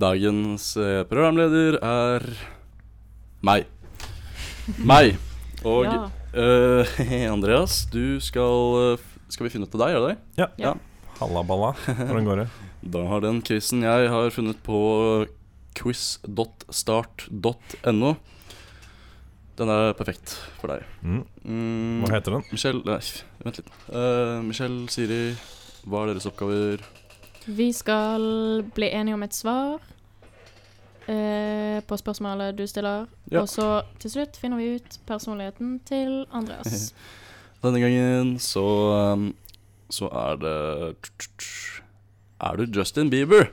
Speaker 1: Dagens eh, programleder er meg. Meg. Og
Speaker 4: ja.
Speaker 1: eh, Andreas, du skal eh, f- Skal vi finne ut av deg, er det deg?
Speaker 2: Hallaballa. Hvordan går det?
Speaker 1: Da har den quizen jeg har funnet på quiz.start.no. Den er perfekt for deg.
Speaker 2: Mm.
Speaker 1: Mm,
Speaker 2: Hva heter den?
Speaker 1: Michelle Nei, vent litt. Eh, Michelle, Siri, hva er deres oppgaver?
Speaker 4: Vi skal bli enige om et svar eh, på spørsmålet du stiller.
Speaker 1: Ja.
Speaker 4: Og så til slutt finner vi ut personligheten til Andreas.
Speaker 1: Denne gangen så um, Så er det Er du Justin Bieber?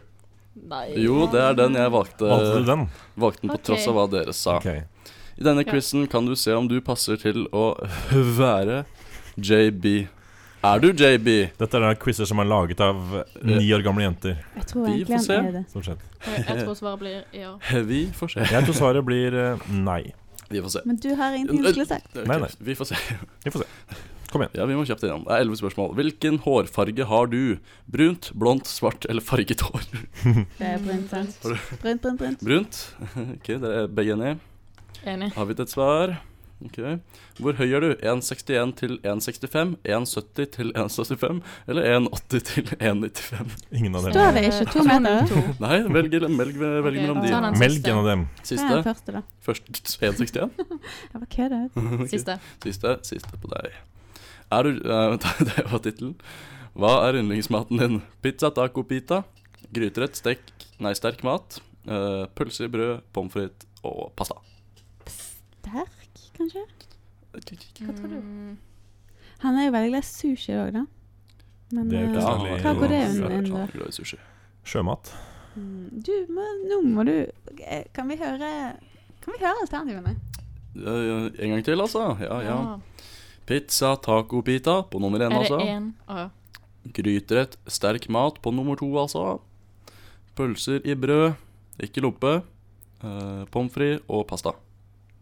Speaker 4: Nei.
Speaker 1: Jo, det er den jeg valgte.
Speaker 2: Valgte du den?
Speaker 1: Valgte den på
Speaker 4: Ok.
Speaker 1: tross av hva dere sa.
Speaker 2: Ok.
Speaker 1: I denne
Speaker 4: Ja.
Speaker 1: quizen kan du se om du passer til å være JB. Er du JB?
Speaker 2: Dette er da quizer som er laget av ni år gamle jenter,
Speaker 3: Jeg tror
Speaker 1: Vi
Speaker 3: egentlig
Speaker 1: får se.
Speaker 3: han er det.
Speaker 2: stort sett.
Speaker 4: Jeg, jeg tror svaret blir ja.
Speaker 1: Vi får se.
Speaker 2: Jeg tror svaret blir eh, nei.
Speaker 1: Vi får se.
Speaker 3: Men du har ingenting du skulle sagt.
Speaker 1: Ok,
Speaker 2: Nei, nei.
Speaker 1: Vi får se.
Speaker 2: Vi får se. Kom igjen.
Speaker 1: Ja, vi må kjapt innom. Det er elleve spørsmål. Hvilken hårfarge har du? Brunt, blondt, svart eller farget hår?
Speaker 3: Det er brunt, sant? Brunt, brunt, brunt.
Speaker 1: Brunt. Ok, dere er begge enige.
Speaker 4: Enig.
Speaker 1: Har vi et svar? Ok. Hvor høy er du? 1,61 til 1,65? 1,70 til 1,75? Eller 1,80 til 1,95?
Speaker 2: Ingen av dem.
Speaker 3: Står det ikke to meter?
Speaker 1: Nei, velg, velg, velg
Speaker 4: Ok,
Speaker 1: mellom
Speaker 4: ta
Speaker 1: de.
Speaker 4: den.
Speaker 2: Melk en av dem.
Speaker 3: Hva er den
Speaker 1: Siste.
Speaker 3: første, da?
Speaker 1: Først 1,61.
Speaker 3: Jeg bare kødder.
Speaker 1: Ok.
Speaker 4: Siste.
Speaker 1: Siste, siste på deg. Er du eh, Det var tittelen. Hva er yndlingsmaten din? Pizza, taco, pita. Gryterett, stek, nei, sterk mat. eh, pølse i brød, pommes frites og pasta.
Speaker 3: Sterk, kanskje? Hva tror du?
Speaker 4: Mm,
Speaker 3: Han er jo veldig glad i sushi òg, da. Men
Speaker 2: Det er jo ikke
Speaker 3: eh,
Speaker 2: særlig-
Speaker 3: hva går det
Speaker 1: Ja,
Speaker 3: under?
Speaker 1: han er glad i sushi.
Speaker 2: Sjømat.
Speaker 3: mm, Du, må, nå må du eh, Kan vi høre Kan vi høre alternativene?
Speaker 1: Eh, en gang til, altså. Ja, ja.
Speaker 4: ja.
Speaker 1: Pizza, taco, pita på nummer én,
Speaker 4: Er det
Speaker 1: altså.
Speaker 4: én? Å,
Speaker 1: Gryterett, sterk mat på nummer to, altså. Pølser i brød, ikke loppe. Uh, Pommes frites og pasta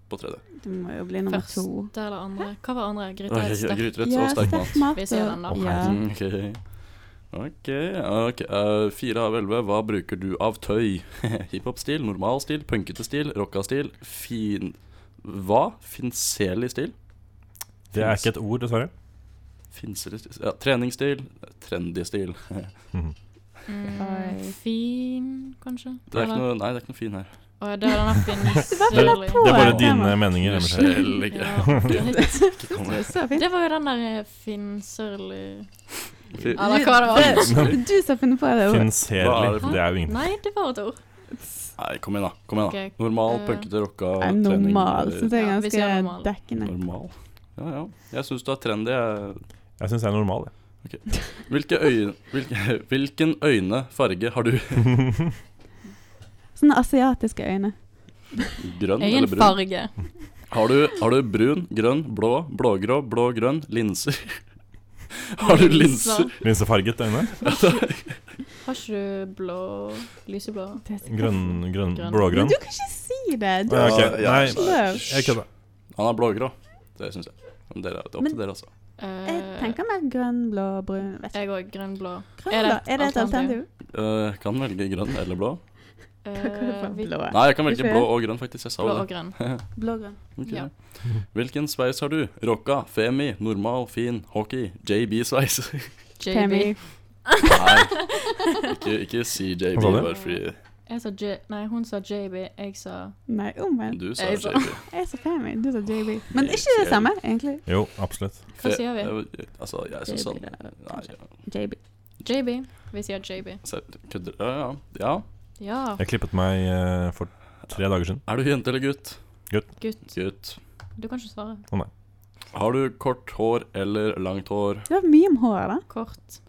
Speaker 1: på tredje.
Speaker 3: Det må jo bli nummer to.
Speaker 4: Første eller andre? Hva var andre?
Speaker 1: Oi,
Speaker 4: Gryterett? sterk.
Speaker 1: Gryterett og sterk mat.
Speaker 4: Vi sier den, da.
Speaker 3: og-
Speaker 1: Å,
Speaker 3: Ja.
Speaker 1: herregud, Mm, Ok, ok. ok. eh, fire av elleve. Hva bruker du av tøy? Hiphop-stil, normal stil, punkete stil, rocka stil, fin... Hva? Finselig stil?
Speaker 2: Det er ikke et ord, dessverre.
Speaker 1: Finselig stil? Ja, treningsstil, trendy stil.
Speaker 2: Mhm.
Speaker 4: Mm,
Speaker 3: Oi.
Speaker 4: fin, kanskje?
Speaker 1: Det er ikke noe, nei, det er ikke noe fin her.
Speaker 4: Å, ja, det er denne
Speaker 2: Det,
Speaker 4: finselig.
Speaker 2: det er bare
Speaker 3: Å,
Speaker 2: dine
Speaker 3: ja.
Speaker 2: meninger. Emil.
Speaker 4: Ja, litt.
Speaker 1: Ikke kom med.
Speaker 3: Så fint.
Speaker 4: Det var jo den der eh, finnsørlig
Speaker 1: Fi-
Speaker 4: Eller hva det var.
Speaker 3: Det- Du som har funnet på det
Speaker 1: Hva er
Speaker 3: ordet.
Speaker 1: det
Speaker 2: Finserlig.
Speaker 1: for-
Speaker 2: Det er jo ingenting.
Speaker 4: Nei, det var et ord.
Speaker 1: Nei, kom igjen, da. kom igjen da
Speaker 4: Ok,
Speaker 1: Normal,
Speaker 4: eh,
Speaker 1: punkete, rocka,
Speaker 3: Nei,
Speaker 1: trening.
Speaker 3: Normal syns jeg er
Speaker 4: Ja, vi sier
Speaker 3: ganske
Speaker 4: normal.
Speaker 3: dekkende.
Speaker 1: Normal. Ja, ja. Jeg syns du er trendy. jeg.
Speaker 2: Jeg syns jeg er normal, jeg.
Speaker 1: Hvilke øyne, hvilke, hvilken øynefarge har du?
Speaker 3: Sånne asiatiske øyne.
Speaker 1: Grønn eller brun?
Speaker 4: Øyenfarge.
Speaker 1: Har du, har du brun, grønn, blå, blågrå, blå-grønn, linser? Har du linser?
Speaker 2: Linsefarget øyne.
Speaker 4: Har ikke du blå Lyseblå?
Speaker 3: Det er sikkert-
Speaker 2: Grønn, grønn,
Speaker 4: Grønn.
Speaker 3: Men
Speaker 2: blågrønn.
Speaker 3: du kan ikke si det! Du
Speaker 2: Ja, ok.
Speaker 1: Ja,
Speaker 2: Nei,
Speaker 3: sløv.
Speaker 2: jeg kødda.
Speaker 1: Han er blågrå. Det syns jeg. Men dere, det er opp til dere, altså.
Speaker 4: Eh,
Speaker 3: Jeg tenker mer grønn, blå, brun vet ikke.
Speaker 4: Jeg òg. Grønn, blå.
Speaker 3: Grønn,
Speaker 4: Er
Speaker 3: er,
Speaker 4: det
Speaker 3: det, er det et alternativ?
Speaker 4: alternativ?
Speaker 1: Eh, kan velge grønn eller blå.
Speaker 3: Da kan du
Speaker 4: Eh,
Speaker 3: få
Speaker 4: vi-
Speaker 3: blå.
Speaker 1: Nei, jeg kan velge
Speaker 3: Hvorfor?
Speaker 1: blå og grønn, faktisk. Jeg sa
Speaker 4: blå
Speaker 1: jo
Speaker 4: og
Speaker 1: det.
Speaker 4: grønn.
Speaker 3: Blå-grønn.
Speaker 1: Ok.
Speaker 4: Ja.
Speaker 1: Hvilken sveis har du? Rocka, femi, normal, fin, hockey, JB-sveis.
Speaker 4: JB.
Speaker 1: Nei, ikke, ikke si JB
Speaker 2: Hva sa du?
Speaker 1: bare fordi
Speaker 4: Jeg sa J... Nei, hun sa JB. Jeg sa
Speaker 3: Nei, omvendt.
Speaker 1: du sa
Speaker 4: Jeg sa-
Speaker 1: JB.
Speaker 3: Jeg sa Femi, du sa JB. Men ikke det samme, egentlig.
Speaker 2: Jo, absolutt.
Speaker 4: Hva sier vi?
Speaker 1: Fe- Altså, jeg syns han Nei, ja.
Speaker 3: JB.
Speaker 4: JB. Vi sier JB.
Speaker 1: Så- Kødder Ja, ja. ja.
Speaker 4: Ja,
Speaker 2: Jeg klippet meg eh, for tre dager siden.
Speaker 1: Er du jente eller gutt?
Speaker 4: gutt.
Speaker 1: Gutt.
Speaker 4: Du kan ikke svare.
Speaker 1: Har du kort hår eller langt hår?
Speaker 3: Det var mye om håret, da.
Speaker 4: Kort.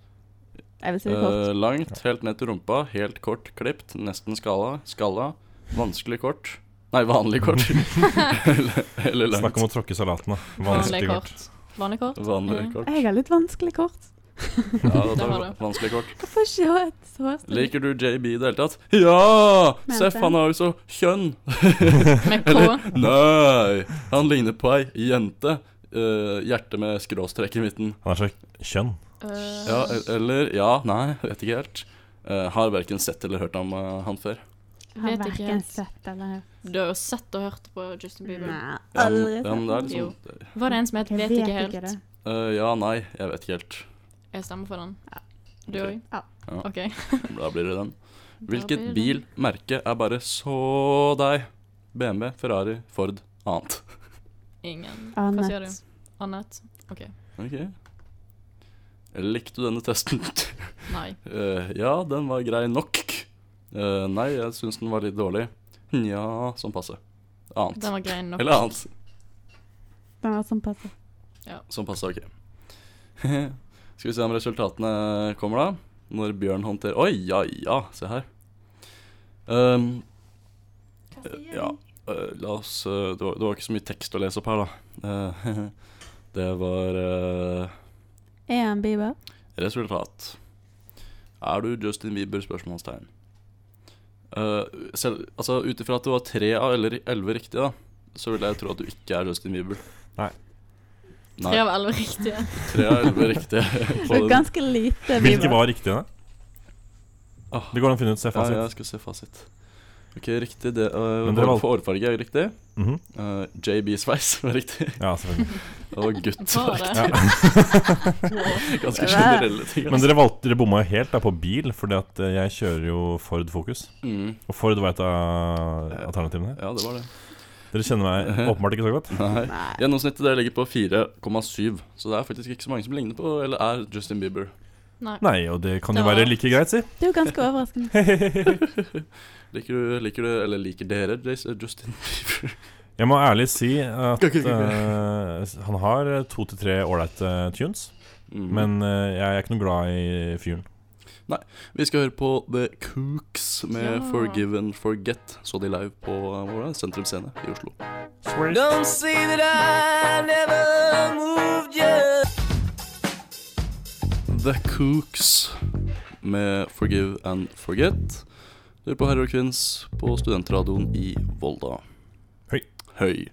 Speaker 3: Jeg vil si det kort.
Speaker 1: Eh, langt, helt ned til rumpa, helt kort klipt, nesten skalla, skalla, vanskelig kort. Nei, vanlig kort. eller, eller
Speaker 2: Snakk
Speaker 1: langt.
Speaker 2: om å tråkke salaten, da.
Speaker 4: Vanlig
Speaker 2: Vanskelig kort.
Speaker 4: kort. Vanlig kort.
Speaker 1: Vanlig kort.
Speaker 3: Jeg har litt vanskelig kort.
Speaker 1: Ja, da
Speaker 4: Det
Speaker 1: tar
Speaker 4: har
Speaker 1: vi
Speaker 4: du.
Speaker 1: vanskelig kort.
Speaker 3: Hvorfor ikke ha et så stort
Speaker 1: Liker du JB i det hele tatt? Ja!
Speaker 3: Men
Speaker 1: Seff,
Speaker 3: det-
Speaker 1: han har jo så kjønn.
Speaker 4: Med K.
Speaker 1: Nei! Han ligner på ei jente. Eh, hjerte med skråstrek i midten.
Speaker 2: Han er så kjønn.
Speaker 4: Eh,
Speaker 1: Ja, e- eller Ja, nei, vet ikke helt. Eh, har verken sett eller hørt om eh, han før.
Speaker 3: Har
Speaker 4: Vet ikke
Speaker 3: verken
Speaker 4: helt.
Speaker 3: sett eller hørt.
Speaker 4: Du har jo sett og hørt på Justin Bieber.
Speaker 3: Nei,
Speaker 1: Ja, men-
Speaker 3: aldri
Speaker 1: ja, men det er
Speaker 3: sett.
Speaker 4: Jo.
Speaker 1: liksom, det-
Speaker 4: Var det en som het
Speaker 3: Jeg
Speaker 4: Vet ikke helt?
Speaker 3: det.
Speaker 1: eh, ja, nei, jeg vet ikke helt.
Speaker 4: Jeg stemmer for den.
Speaker 3: Ja.
Speaker 4: Du
Speaker 1: Ok.
Speaker 4: òg?
Speaker 3: Ja.
Speaker 4: OK.
Speaker 1: Da blir det den.
Speaker 4: Da
Speaker 1: Hvilket
Speaker 4: blir det
Speaker 1: bil,
Speaker 4: den.
Speaker 1: merke, er bare så deg? BMW, Ferrari, Ford, annet.
Speaker 4: Ingen. Hva sier du?
Speaker 3: Annet.
Speaker 4: Annet? OK.
Speaker 1: Ok. Likte du denne testen?
Speaker 4: Nei.
Speaker 1: Eh, ja, den var grei nok. Eh, nei, jeg syns den var litt dårlig. Nja, sånn passe. Annet.
Speaker 4: Den var grei nok.
Speaker 1: Eller annet.
Speaker 3: Den var sånn passe.
Speaker 1: Sånn passe, ok. Skal vi se om resultatene kommer, da. Når Bjørn håndterer Oi, ja, ja, se her. Um, Ja, eh, la oss eh, det, var, det var ikke så mye tekst å lese opp her, da. Eh, det var eh,
Speaker 3: Er han Bieber?
Speaker 1: resultat. Er du Justin Bieber? spørsmålstegn. Eh, selv, altså, Ut ifra at du var tre av eller elleve riktige, da, så vil jeg tro at du ikke er Justin Bieber.
Speaker 2: Nei.
Speaker 1: Nei,
Speaker 4: Tre av elleve riktige.
Speaker 1: Tre av elleve riktige.
Speaker 3: Det
Speaker 1: På
Speaker 3: er
Speaker 1: den.
Speaker 3: ganske lite
Speaker 2: Hvilke
Speaker 3: Bieber.
Speaker 2: var riktige? da?
Speaker 1: Ah,
Speaker 2: Det går an å finne ut. Se
Speaker 1: ja, ja,
Speaker 2: fasit.
Speaker 1: jeg skal se fasit. Ok, riktig. Det, uh,
Speaker 2: Men dere valg-
Speaker 1: for hårfarge er riktig.
Speaker 2: Mhm.
Speaker 1: Uh, JB-sveis var riktig.
Speaker 2: Ja, selvfølgelig.
Speaker 1: Og gutt
Speaker 4: Var
Speaker 1: var
Speaker 4: det?
Speaker 1: riktig. Ganske generelle ting. altså.
Speaker 2: Men dere, valgte, dere bomma jo helt da på bil, fordi at eh, jeg kjører jo Ford Focus.
Speaker 1: Mm.
Speaker 2: Og Ford var et av alternativene her.
Speaker 1: Ja, det var det.
Speaker 2: Dere kjenner meg åpenbart ikke så godt.
Speaker 1: Nei.
Speaker 3: Nei.
Speaker 1: Gjennomsnittet der ligger på 4,7, så det er faktisk ikke så mange som ligner på eller er Justin Bieber.
Speaker 4: Nei.
Speaker 2: Nei, og det kan jo
Speaker 4: Da-
Speaker 2: være like greit, si.
Speaker 3: Det er jo ganske overraskende.
Speaker 1: Liker du, liker du eller liker dere Jace- eh, Justin Bieber?
Speaker 2: Jeg må ærlig si at
Speaker 1: Ok, ok, ok.
Speaker 2: eh, han har to til tre ålreite tunes,
Speaker 1: Mm.
Speaker 2: men eh, jeg er ikke noe glad i fyren.
Speaker 1: Vi skal høre på The Cooks med
Speaker 4: Ja.
Speaker 1: Forgive and Forget. Så de live på eh, hvor er det? Sentrum Scene i Oslo.
Speaker 5: Don't say that I never moved you.
Speaker 1: The Cooks med Forgive and Forget. Du er på Herre og Kvinns på studentradioen i Volda.
Speaker 2: Høy.
Speaker 1: Høy.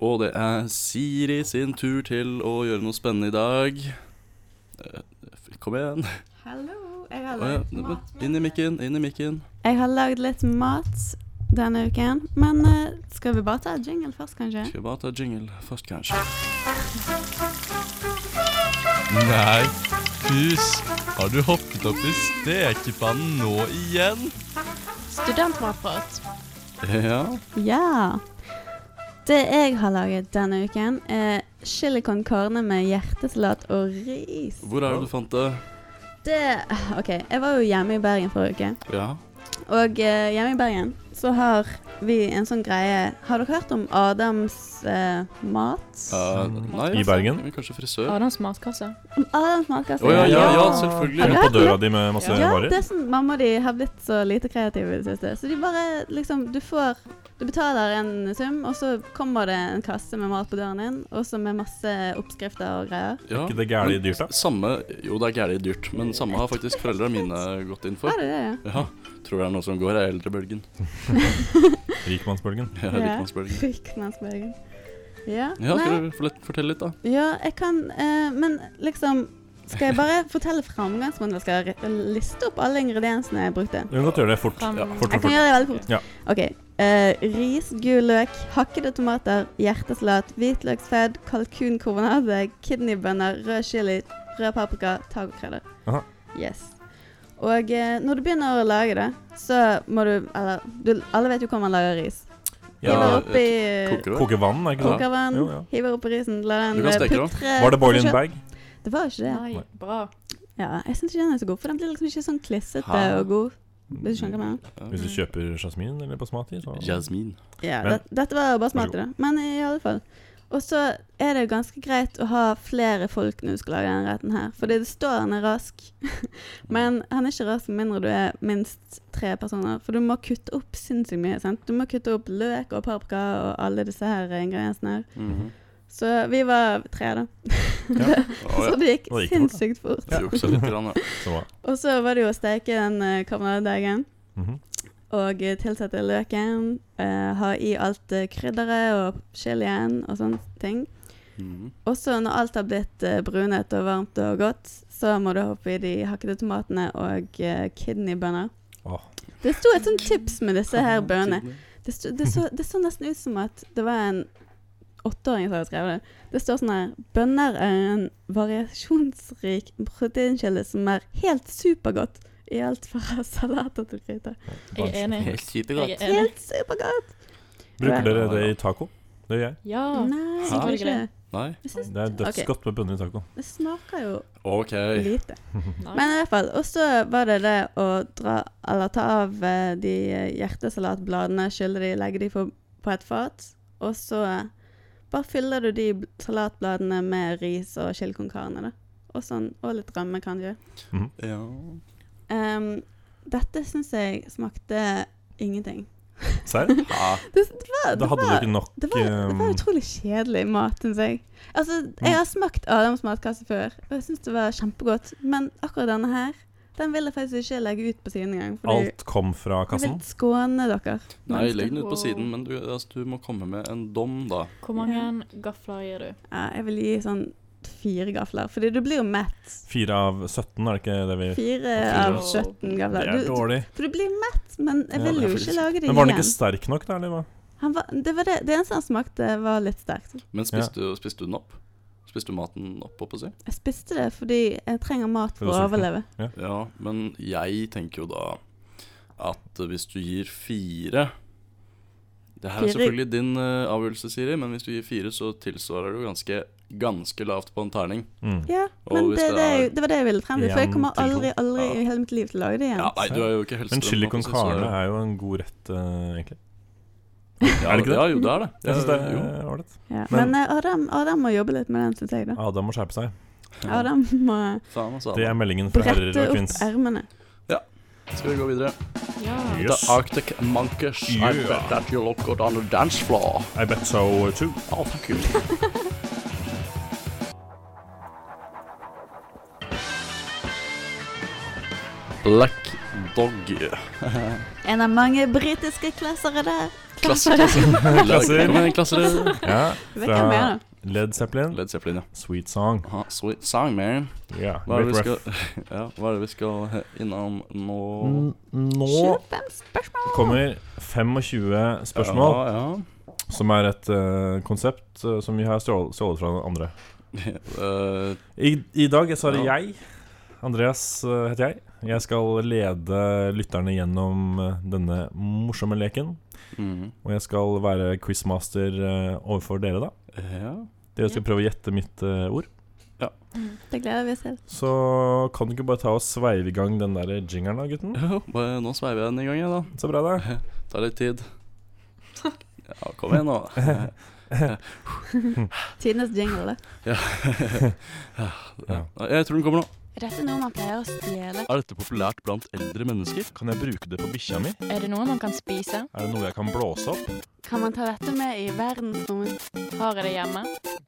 Speaker 1: Og det er Siri sin tur til å gjøre noe spennende i dag. Eh, Kom igjen.
Speaker 6: Hallo, jeg har
Speaker 1: Å ja,
Speaker 6: lagd
Speaker 1: men
Speaker 6: mat.
Speaker 1: Inn i mikken, inn i mikken.
Speaker 3: Jeg har lagd litt mat denne uken, men eh, skal vi bare ta jingle først, kanskje?
Speaker 1: Skal vi bare ta jingle først, kanskje.
Speaker 7: Nei, pus. Har du hoppet opp i stekepannen nå igjen?
Speaker 4: Studentmatprat.
Speaker 1: Ja.
Speaker 3: Ja. Det jeg har laget denne uken, er chili con carne med hjertesalat og ris.
Speaker 1: Hvor er det du fant det?
Speaker 3: Det OK, jeg var jo hjemme i Bergen forrige uke.
Speaker 1: Ja.
Speaker 3: Og eh, hjemme i Bergen så har vi en sånn greie Har dere hørt om Adams eh, mat?
Speaker 1: eh, nei.
Speaker 2: I Bergen?
Speaker 1: Kanskje frisør?
Speaker 4: Adams matkasse.
Speaker 3: Om Adams matkasse?
Speaker 1: Å ja, ja, ja,
Speaker 2: Ja.
Speaker 3: Har
Speaker 1: selvfølgelig.
Speaker 2: Er
Speaker 3: du
Speaker 2: det
Speaker 3: hørt
Speaker 2: på
Speaker 3: om
Speaker 2: døra di med masse
Speaker 3: Ja, det
Speaker 2: varer?
Speaker 3: er sånn mamma og de har blitt så lite kreative i det siste. Så de bare liksom Du får Du betaler en sum, og så kommer det en kasse med mat på døren din, også med masse oppskrifter og greier.
Speaker 1: Ja.
Speaker 2: Ikke det gærne dyrt, da?
Speaker 1: Samme Jo, det er gærent dyrt, men samme har faktisk foreldra mine gått inn
Speaker 3: Er
Speaker 1: for.
Speaker 3: det det, ja?
Speaker 1: Ja. Tror det er noe som går, er eldrebølgen.
Speaker 2: Rikmannsbølgen.
Speaker 1: Ja, rikmannsbølgen.
Speaker 3: Rikmannsbølgen. Ja.
Speaker 1: Ja,
Speaker 3: Nei.
Speaker 1: skal du fortel- fortelle litt, da?
Speaker 3: Ja, jeg kan eh, Men liksom Skal jeg bare fortelle framgangsmåten? Skal jeg re- liste opp alle ingrediensene jeg brukte?
Speaker 2: Du kan godt gjøre det fort.
Speaker 4: Fram-
Speaker 1: Ja,
Speaker 2: fort,
Speaker 3: Jeg
Speaker 2: fort,
Speaker 3: kan
Speaker 2: fort.
Speaker 3: gjøre det veldig fort.
Speaker 2: Ja.
Speaker 3: OK. eh, ris, gul løk, hakkede tomater, hjertesalat, hvitløksfed, kalkunkornade, kidneybønner, rød chili, rød paprika, tacokrydder.
Speaker 2: Aha.
Speaker 3: Yes. Og eh, når du begynner å lage det, så må du Eller du, alle vet jo hvordan man lager ris. Hiver
Speaker 1: Ja,
Speaker 3: oppi
Speaker 1: Koker du?
Speaker 2: Koke vann, er ikke sant?
Speaker 3: kokervann,
Speaker 2: Jo, ja.
Speaker 3: hiver oppi risen, la
Speaker 1: Du
Speaker 3: den
Speaker 1: kan
Speaker 3: eh,
Speaker 1: steke det også.
Speaker 3: putre
Speaker 2: Var det boil in
Speaker 3: for seg-
Speaker 2: bag?
Speaker 3: Det var ikke det.
Speaker 4: Nei,
Speaker 2: Nei.
Speaker 4: bra.
Speaker 3: Ja, jeg syns ikke den er så god, for den blir liksom ikke sånn klissete
Speaker 1: Ha.
Speaker 3: og god. Hvis du skjønner hva jeg mener.
Speaker 2: Hvis du kjøper jasmin eller basmati, så
Speaker 1: Jasmin.
Speaker 3: Ja,
Speaker 2: Men-
Speaker 3: det, dette var bare
Speaker 2: Vær så
Speaker 3: smart i det. Men i alle fall. Og så er det ganske greit å ha flere folk når du skal lage denne retten her. Fordi det står han er rask. Men han er ikke rask med mindre du er minst tre personer. For du må kutte opp sinnssykt mye. sant? Du må kutte opp løk og paprika og alle disse her ingrediensene her.
Speaker 1: Mhm.
Speaker 3: Så vi var tre, da.
Speaker 1: Å, ja.
Speaker 3: Så det gikk
Speaker 2: Og det gikk fort, da.
Speaker 3: sinnssykt fort.
Speaker 1: Du juksa litt, grann, ja.
Speaker 2: så bra.
Speaker 3: Og så var det jo å steke den eh, karbonadedeigen.
Speaker 2: Mhm.
Speaker 3: Og eh, tilsette løken. eh, ha i alt eh, krydderet og chilien og sånne ting.
Speaker 2: Mm.
Speaker 1: Mhm.
Speaker 3: Og så når alt har blitt eh, brunet og varmt og godt, så må du hoppe i de hakkede tomatene og eh, kidneybønner.
Speaker 2: Åh.
Speaker 3: Det sto et sånt tips med disse her bønnene. Det, sto- det, så, det så nesten ut som at det var en åtteåring som hadde skrevet det. Det står sånn her Bønner er en variasjonsrik proteinkilde som er helt supergodt i alt fra salater til krydder.
Speaker 4: Jeg er enig.
Speaker 1: Helt
Speaker 4: Jeg
Speaker 1: supergodt.
Speaker 4: er enig.
Speaker 3: Helt supergodt!
Speaker 2: Bruker dere det i taco? Det gjør jeg.
Speaker 4: Ja.
Speaker 3: Nei,
Speaker 1: Hæ?
Speaker 3: egentlig ikke.
Speaker 1: Nei?
Speaker 3: Jeg synes
Speaker 2: Det er dødsgodt med bønner i taco.
Speaker 3: det smaker jo
Speaker 1: OK.
Speaker 3: lite.
Speaker 4: Nei.
Speaker 3: Men i hvert fall, og så var det det å dra, eller ta av eh, de hjertesalatbladene, skylle de, legge de på, på et fat, og så eh, bare fyller du de bl- salatbladene med ris og chili con carne, da. Og, sånn, og litt rømme, kanskje.
Speaker 1: Ja.
Speaker 3: Em, Ehm, dette syns jeg smakte ingenting.
Speaker 2: Serr?
Speaker 1: Ha.
Speaker 3: Det, det, var, det,
Speaker 2: Da hadde du
Speaker 3: var,
Speaker 2: ikke nok
Speaker 3: det, var, det var
Speaker 2: ehm,
Speaker 3: utrolig kjedelig mat, syns jeg. Altså,
Speaker 2: Mm.
Speaker 3: jeg har smakt Adams matkasse før, og jeg syns det var kjempegodt, men akkurat denne her, den vil jeg faktisk ikke legge ut på siden engang. fordi-
Speaker 2: Alt kom fra kassen?
Speaker 3: Jeg vil skåne dere.
Speaker 1: Nei, legg den ut på
Speaker 4: Wow.
Speaker 1: siden, men du, altså, du må komme med en dom, da.
Speaker 4: Hvor mange gafler gir du?
Speaker 3: Ja, jeg vil gi sånn terningkast fire gafler, fordi du blir jo mett.
Speaker 2: Fire av 17, er det ikke det vi
Speaker 3: Fire
Speaker 2: Fire.
Speaker 3: av 17
Speaker 2: Det
Speaker 3: gafler.
Speaker 2: er
Speaker 3: Du,
Speaker 2: dårlig.
Speaker 3: for du blir mett, men jeg
Speaker 2: Ja,
Speaker 3: vil
Speaker 1: det er
Speaker 3: jo
Speaker 1: faktisk-
Speaker 3: ikke lage det
Speaker 2: Men var den ikke
Speaker 3: igjen.
Speaker 2: sterk nok, da, eller hva?
Speaker 3: Han var, det, var det, det eneste han smakte, var litt sterkt.
Speaker 1: Men spiste, du- spiste du den opp? Spiste du maten opp, oppå si?
Speaker 3: Jeg spiste det fordi jeg trenger mat
Speaker 2: For du
Speaker 3: for å
Speaker 2: er sulten.
Speaker 3: overleve.
Speaker 1: Ja, men jeg tenker jo da at hvis du gir fire Det her er
Speaker 3: Fire.
Speaker 1: selvfølgelig din eh, avgjørelse, Siri, men hvis du gir fire, så tilsvarer du ganske, ganske lavt på en terning.
Speaker 2: Mm.
Speaker 3: Ja,
Speaker 1: Og
Speaker 3: men
Speaker 1: hvis
Speaker 3: det,
Speaker 1: det
Speaker 3: det, er
Speaker 1: er
Speaker 3: jo- det var det jeg ville frem til, for jeg
Speaker 2: en
Speaker 3: kommer
Speaker 2: til to.
Speaker 3: aldri, aldri
Speaker 1: Ja.
Speaker 3: i hele mitt liv til å lage det igjen.
Speaker 1: Ja, nei, du er jo ikke helsevenn.
Speaker 2: Men chili con
Speaker 1: holdt jeg på å si, så-
Speaker 2: carne er jo en god rett, eh, egentlig.
Speaker 1: Ja,
Speaker 2: Er det ikke det?
Speaker 1: Ja, jo, det er det.
Speaker 2: Jeg syns det
Speaker 1: Ja,
Speaker 2: er
Speaker 1: jo.
Speaker 2: eh, ålreit.
Speaker 3: Ja.
Speaker 2: Men-
Speaker 3: Men, eh, Adam, Adam må jobbe litt med den, syns jeg. da.
Speaker 2: Adam må skjerpe seg.
Speaker 3: Adam må
Speaker 1: Faen, altså.
Speaker 2: Det er meldingen fra herrer
Speaker 3: brette
Speaker 2: og
Speaker 3: opp
Speaker 2: kvinns.
Speaker 3: ermene.
Speaker 1: Skal vi gå videre?
Speaker 4: Ja.
Speaker 2: Yes.
Speaker 1: The Arctic Monkeys. I
Speaker 2: Yeah.
Speaker 1: bet that you look good on the dance floor.
Speaker 2: I bet so too.
Speaker 1: Oh, thank you. Black Dog.
Speaker 3: En av mange britiske klassere der.
Speaker 1: Klasser. Klasser. Kom igjen, klasser.
Speaker 2: Ja,
Speaker 3: Vet ikke mer,
Speaker 2: fra
Speaker 3: da.
Speaker 2: Led Zeppelin,
Speaker 1: Led Zeppelin, ja.
Speaker 2: Sweet Song.
Speaker 1: Aha, sweet song, man.
Speaker 2: Ja,
Speaker 1: Hva er, det
Speaker 2: great
Speaker 1: vi
Speaker 2: ref.
Speaker 1: skal, ja, hva er det vi skal innom nå?
Speaker 2: N- Nå
Speaker 3: 25 spørsmål.
Speaker 2: kommer 25 spørsmål,
Speaker 1: Ja,
Speaker 2: som er et eh, konsept eh, som vi har stjål- stjålet fra andre.
Speaker 1: ja. Eh,
Speaker 2: I, I dag så er det
Speaker 1: Ja.
Speaker 2: jeg. Andreas eh, heter jeg. Jeg skal lede lytterne gjennom eh, denne morsomme leken.
Speaker 1: mm,
Speaker 2: Og jeg skal være quizmaster eh, overfor dere, da.
Speaker 1: ja.
Speaker 2: Dere skal prøve å gjette mitt eh, ord.
Speaker 4: Mm.
Speaker 3: Det gleder vi oss til.
Speaker 2: Så kan du ikke bare ta og sveive i gang den der jingeren, da, gutten?
Speaker 1: Jo, bare, nå sveiver jeg den i gang, jeg, da.
Speaker 2: Så bra, da.
Speaker 1: Tar litt tid. Ja, kom igjen, nå.
Speaker 3: Tidenes jingle. da.
Speaker 2: Ja.
Speaker 1: Jeg tror den kommer nå.
Speaker 4: Er dette noe man pleier å stjele?
Speaker 1: Er dette populært blant eldre mennesker?
Speaker 2: Kan jeg bruke det på bikkja mi?
Speaker 4: Er det noe man kan spise?
Speaker 2: Er det noe jeg kan blåse opp?
Speaker 3: Kan man ta dette med i verdensrommet?
Speaker 4: Har jeg det hjemme?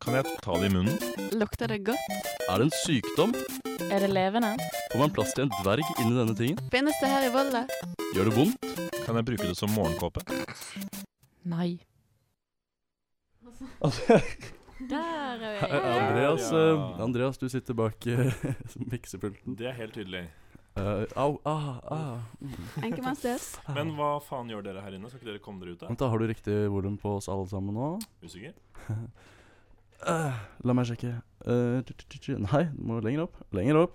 Speaker 2: Kan jeg ta det i munnen?
Speaker 3: Lukter det godt?
Speaker 1: Er det en sykdom?
Speaker 4: Er det levende?
Speaker 1: Får man plass til en dverg inni denne tingen?
Speaker 3: Finnes det her i Volda?
Speaker 1: Gjør det vondt?
Speaker 2: Kan jeg bruke det som morgenkåpe?
Speaker 4: Nei. Der er vi.
Speaker 1: Andreas, eh, Andreas, du sitter bak eh, miksepulten.
Speaker 2: Det er helt tydelig.
Speaker 1: Eh, au, ah, ah.
Speaker 3: Enkemannsdød?
Speaker 2: Men hva faen gjør dere her inne? Skal ikke dere komme dere ut,
Speaker 1: Vent da, Har du riktig volum på oss alle sammen nå?
Speaker 2: da? Usikker?
Speaker 1: Eh, la meg sjekke. Eh, tju, tju, tju. Nei, du må lenger opp. Lenger opp.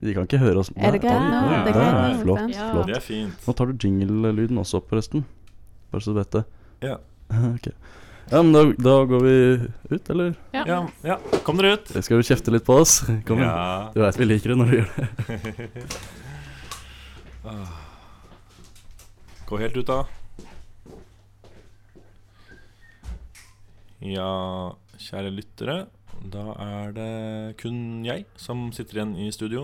Speaker 1: De kan ikke høre oss.
Speaker 3: Er det greit
Speaker 1: Nei,
Speaker 3: nå?
Speaker 1: oi,
Speaker 3: Det er
Speaker 1: oi, oi,
Speaker 3: greit nå, ikke
Speaker 1: Flott,
Speaker 3: sant?
Speaker 4: Ja.
Speaker 1: flott.
Speaker 2: Det er fint.
Speaker 1: Nå tar du jingle-lyden også opp, forresten. Bare så du vet det.
Speaker 2: Ja.
Speaker 1: ok. Ja, men da, da går vi ut, eller?
Speaker 2: Ja, ja. kom dere ut!
Speaker 1: Jeg skal jo kjefte litt på oss. Kom igjen.
Speaker 2: Ja.
Speaker 1: Du veit vi liker det når du gjør det.
Speaker 2: Gå helt ut, da. Ja, kjære lyttere. Da er det kun jeg som sitter igjen i studio.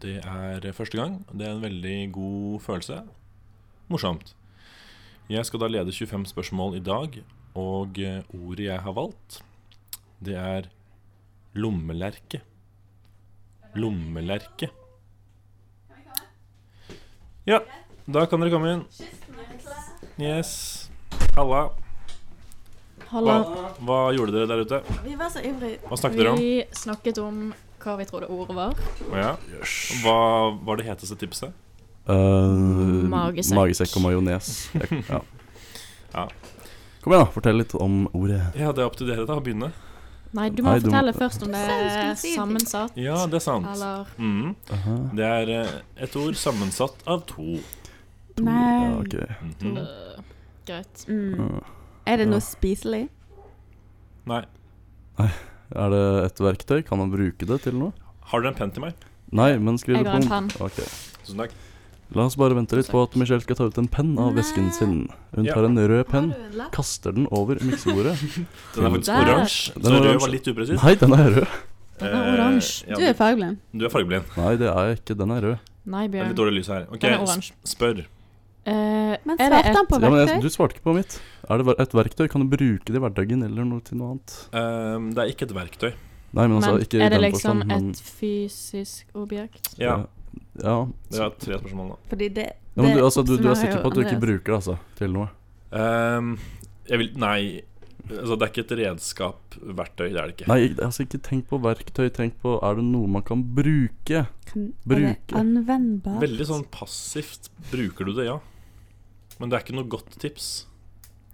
Speaker 2: Det er første gang. og Det er en veldig god følelse. Morsomt. Jeg skal da lede 25 spørsmål i dag, og eh, ordet jeg har valgt, det er lommelerke. Lommelerke. Ja, da kan dere komme inn. Yes. Halla. Hva, hva gjorde dere der ute?
Speaker 3: Vi var så ivrige.
Speaker 2: Hva snakket dere om?
Speaker 4: Vi snakket om hva vi trodde ordet var.
Speaker 2: Ja. Hva var det heteste tipset?
Speaker 1: Eh,
Speaker 4: Magesekk.
Speaker 1: Magesekk og majones. Jeg- Ja.
Speaker 2: Ja.
Speaker 1: Kom igjen, da. Fortell litt om ordet.
Speaker 2: Ja, det er opp til dere, da. Å begynne.
Speaker 4: Nei, du må
Speaker 1: Nei, du må-
Speaker 4: fortelle først om det er
Speaker 3: Saus, skal vi si.
Speaker 4: sammensatt.
Speaker 2: Ja, det er sant.
Speaker 4: Eller
Speaker 2: Mhm.
Speaker 1: Aha.
Speaker 2: Det er eh, et ord sammensatt av to.
Speaker 1: Ja,
Speaker 3: Nei.
Speaker 1: ok. Eh,
Speaker 2: Mhm.
Speaker 4: øh, Greit.
Speaker 3: Mm.
Speaker 1: Ja.
Speaker 3: Er det
Speaker 1: Ja.
Speaker 3: noe spiselig?
Speaker 2: Nei.
Speaker 1: Er det et verktøy? Kan man bruke det til noe?
Speaker 2: Har dere en penn til meg?
Speaker 1: Nei, men skriv det
Speaker 4: Jeg
Speaker 1: på
Speaker 4: har en penn.
Speaker 1: Ok.
Speaker 2: Tusen takk.
Speaker 1: La oss bare vente litt på at Michelle skal ta ut en penn av
Speaker 3: Nei.
Speaker 1: vesken sin. Hun
Speaker 2: Ja.
Speaker 1: tar en rød penn,
Speaker 3: Har du en lapp?
Speaker 1: kaster den over miksebordet.
Speaker 2: Den er faktisk
Speaker 4: Der.
Speaker 2: oransje.
Speaker 1: Den
Speaker 2: Så
Speaker 1: er
Speaker 2: rød
Speaker 1: oransje.
Speaker 2: var litt upresis.
Speaker 1: Nei, den er rød.
Speaker 4: Den er oransje.
Speaker 2: Eh, ja,
Speaker 3: Du er fargeblind.
Speaker 2: du er fargeblind.
Speaker 1: Nei, det er jeg ikke. Den er rød.
Speaker 4: Nei,
Speaker 2: Det er
Speaker 4: Bjørn.
Speaker 2: litt dårlig lys her. Ok,
Speaker 4: Den er oransje.
Speaker 2: s- spør.
Speaker 4: Eh,
Speaker 3: Men
Speaker 4: er det
Speaker 3: svarte han
Speaker 4: et
Speaker 3: på
Speaker 1: Ja, men altså, jeg,
Speaker 3: verktøy?
Speaker 1: du svarte ikke på mitt. Er det ver- et verktøy? Kan du bruke det i hverdagen eller noe til noe annet?
Speaker 2: Ehm, det er ikke et verktøy.
Speaker 1: Nei, men
Speaker 4: Men
Speaker 1: altså, ikke i
Speaker 4: er det
Speaker 1: den
Speaker 4: liksom
Speaker 2: sånn,
Speaker 1: forstand, men
Speaker 4: et fysisk objekt?
Speaker 2: Ja,
Speaker 1: Ja.
Speaker 2: Det er tre spørsmål nå.
Speaker 3: Fordi det,
Speaker 1: Ja, men du, altså, du, du er
Speaker 3: oppsummerer
Speaker 1: sikker
Speaker 3: jo
Speaker 1: på at du ikke
Speaker 3: Andreas.
Speaker 1: bruker det altså, til noe?
Speaker 2: Ehm, jeg vil Nei. Altså, det er ikke et redskap, verktøy, det er det ikke.
Speaker 1: Nei, ikke- altså ikke tenk på verktøy, tenk på er det noe man kan bruke?
Speaker 3: Kan, Er
Speaker 1: Bruke.
Speaker 3: det anvendbart?
Speaker 2: Veldig sånn passivt bruker du det, ja. Men det er ikke noe godt tips.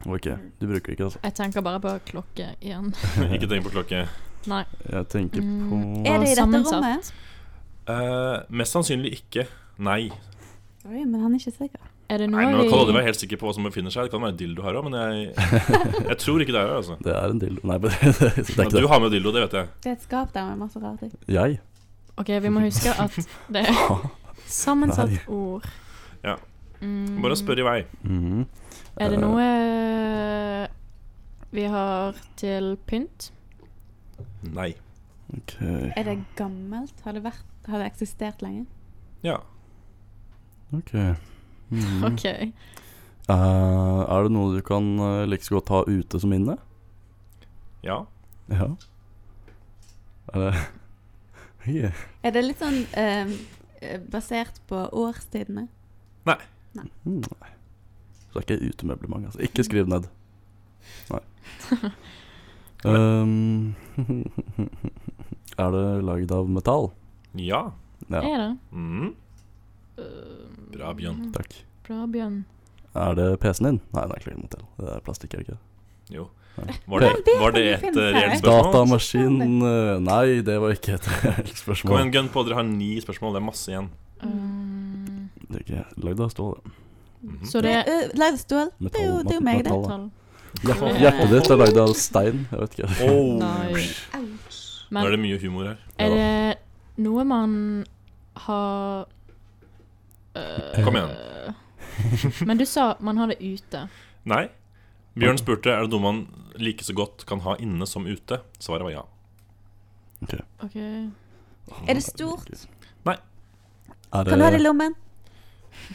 Speaker 1: Ok, du bruker det ikke, altså.
Speaker 4: Jeg tenker bare på klokke igjen.
Speaker 2: ikke tenk på klokke.
Speaker 4: Nei.
Speaker 1: Jeg tenker
Speaker 4: Mm.
Speaker 1: på
Speaker 3: Er det i dette
Speaker 4: Sammensatt.
Speaker 3: rommet?
Speaker 2: Eh, mest sannsynlig ikke. Nei.
Speaker 3: Oi, men han er ikke sikker.
Speaker 4: Er det
Speaker 2: Nei,
Speaker 4: noe
Speaker 2: men jeg kan aldri
Speaker 4: vi
Speaker 2: være helt sikker på hva som befinner seg. Det kan være dildo her òg, men jeg, jeg tror ikke det er det. altså.
Speaker 1: Det er en dildo. Nei, men det er
Speaker 2: Men
Speaker 1: ikke
Speaker 2: du
Speaker 1: det.
Speaker 2: har med dildo, det vet jeg.
Speaker 3: Det er et skap der med masse rare ting.
Speaker 1: Jeg?
Speaker 4: OK, vi må huske at det er sammensatt ord.
Speaker 2: Ja.
Speaker 4: Mm.
Speaker 2: Bare spør i vei.
Speaker 1: Mhm.
Speaker 4: Er det
Speaker 1: Eh,
Speaker 4: noe eh, vi har til pynt?
Speaker 2: Nei.
Speaker 1: Ok,
Speaker 3: Er det gammelt? Har det, vært, har det eksistert lenge?
Speaker 2: Ja.
Speaker 1: ok. Mhm.
Speaker 4: OK.
Speaker 1: Eh, er det noe du kan eh, like så godt ha ute som inne?
Speaker 2: Ja.
Speaker 1: Ja. Er det Ja.
Speaker 3: Er det litt sånn eh, eh, basert på årstidene?
Speaker 1: Mm, Nei. Så det er ikke utemøblement, altså. Ikke skriv ned. Nei. Um, er det lagd av metall?
Speaker 2: Ja.
Speaker 1: Ja,
Speaker 4: Er det?
Speaker 2: Mm.
Speaker 4: Uh,
Speaker 2: Bra, Bjørn.
Speaker 1: takk.
Speaker 4: Bra, Bjørn.
Speaker 1: Er det PC-en din? Nei, det er ikke metall. Det er plastikk, er det ikke? det?
Speaker 2: Jo.
Speaker 1: Nei.
Speaker 2: Var det,
Speaker 3: Men det
Speaker 2: var det
Speaker 3: kan
Speaker 2: et
Speaker 3: finnes
Speaker 2: eh,
Speaker 3: her.
Speaker 2: reelt spørsmål?
Speaker 1: Datamaskin eh, Nei, det var ikke et reelt
Speaker 2: Kom
Speaker 1: spørsmål.
Speaker 2: igjen, gønn på. Dere har ni spørsmål. Det er masse igjen.
Speaker 4: Um,
Speaker 1: Det er ikke lagd av stål. det.
Speaker 2: Mhm.
Speaker 4: så det er
Speaker 3: Eh, Lagd av stål? Det er jo, det er jo meg, det.
Speaker 1: Metall.
Speaker 4: tall.
Speaker 1: Hjert- Hjertet ditt er lagd av stein. Jeg vet ikke.
Speaker 2: Oh.
Speaker 4: Nei.
Speaker 2: Nå er
Speaker 4: Men
Speaker 2: det mye humor her.
Speaker 4: er det noe man har øh,
Speaker 2: Kom
Speaker 4: Men du sa man har det ute.
Speaker 2: Nei. Bjørn spurte er det noe man like så godt kan ha inne som ute. Svaret var ja.
Speaker 4: OK.
Speaker 3: Er det stort?
Speaker 1: Er det,
Speaker 3: Kan du ha det i lommen?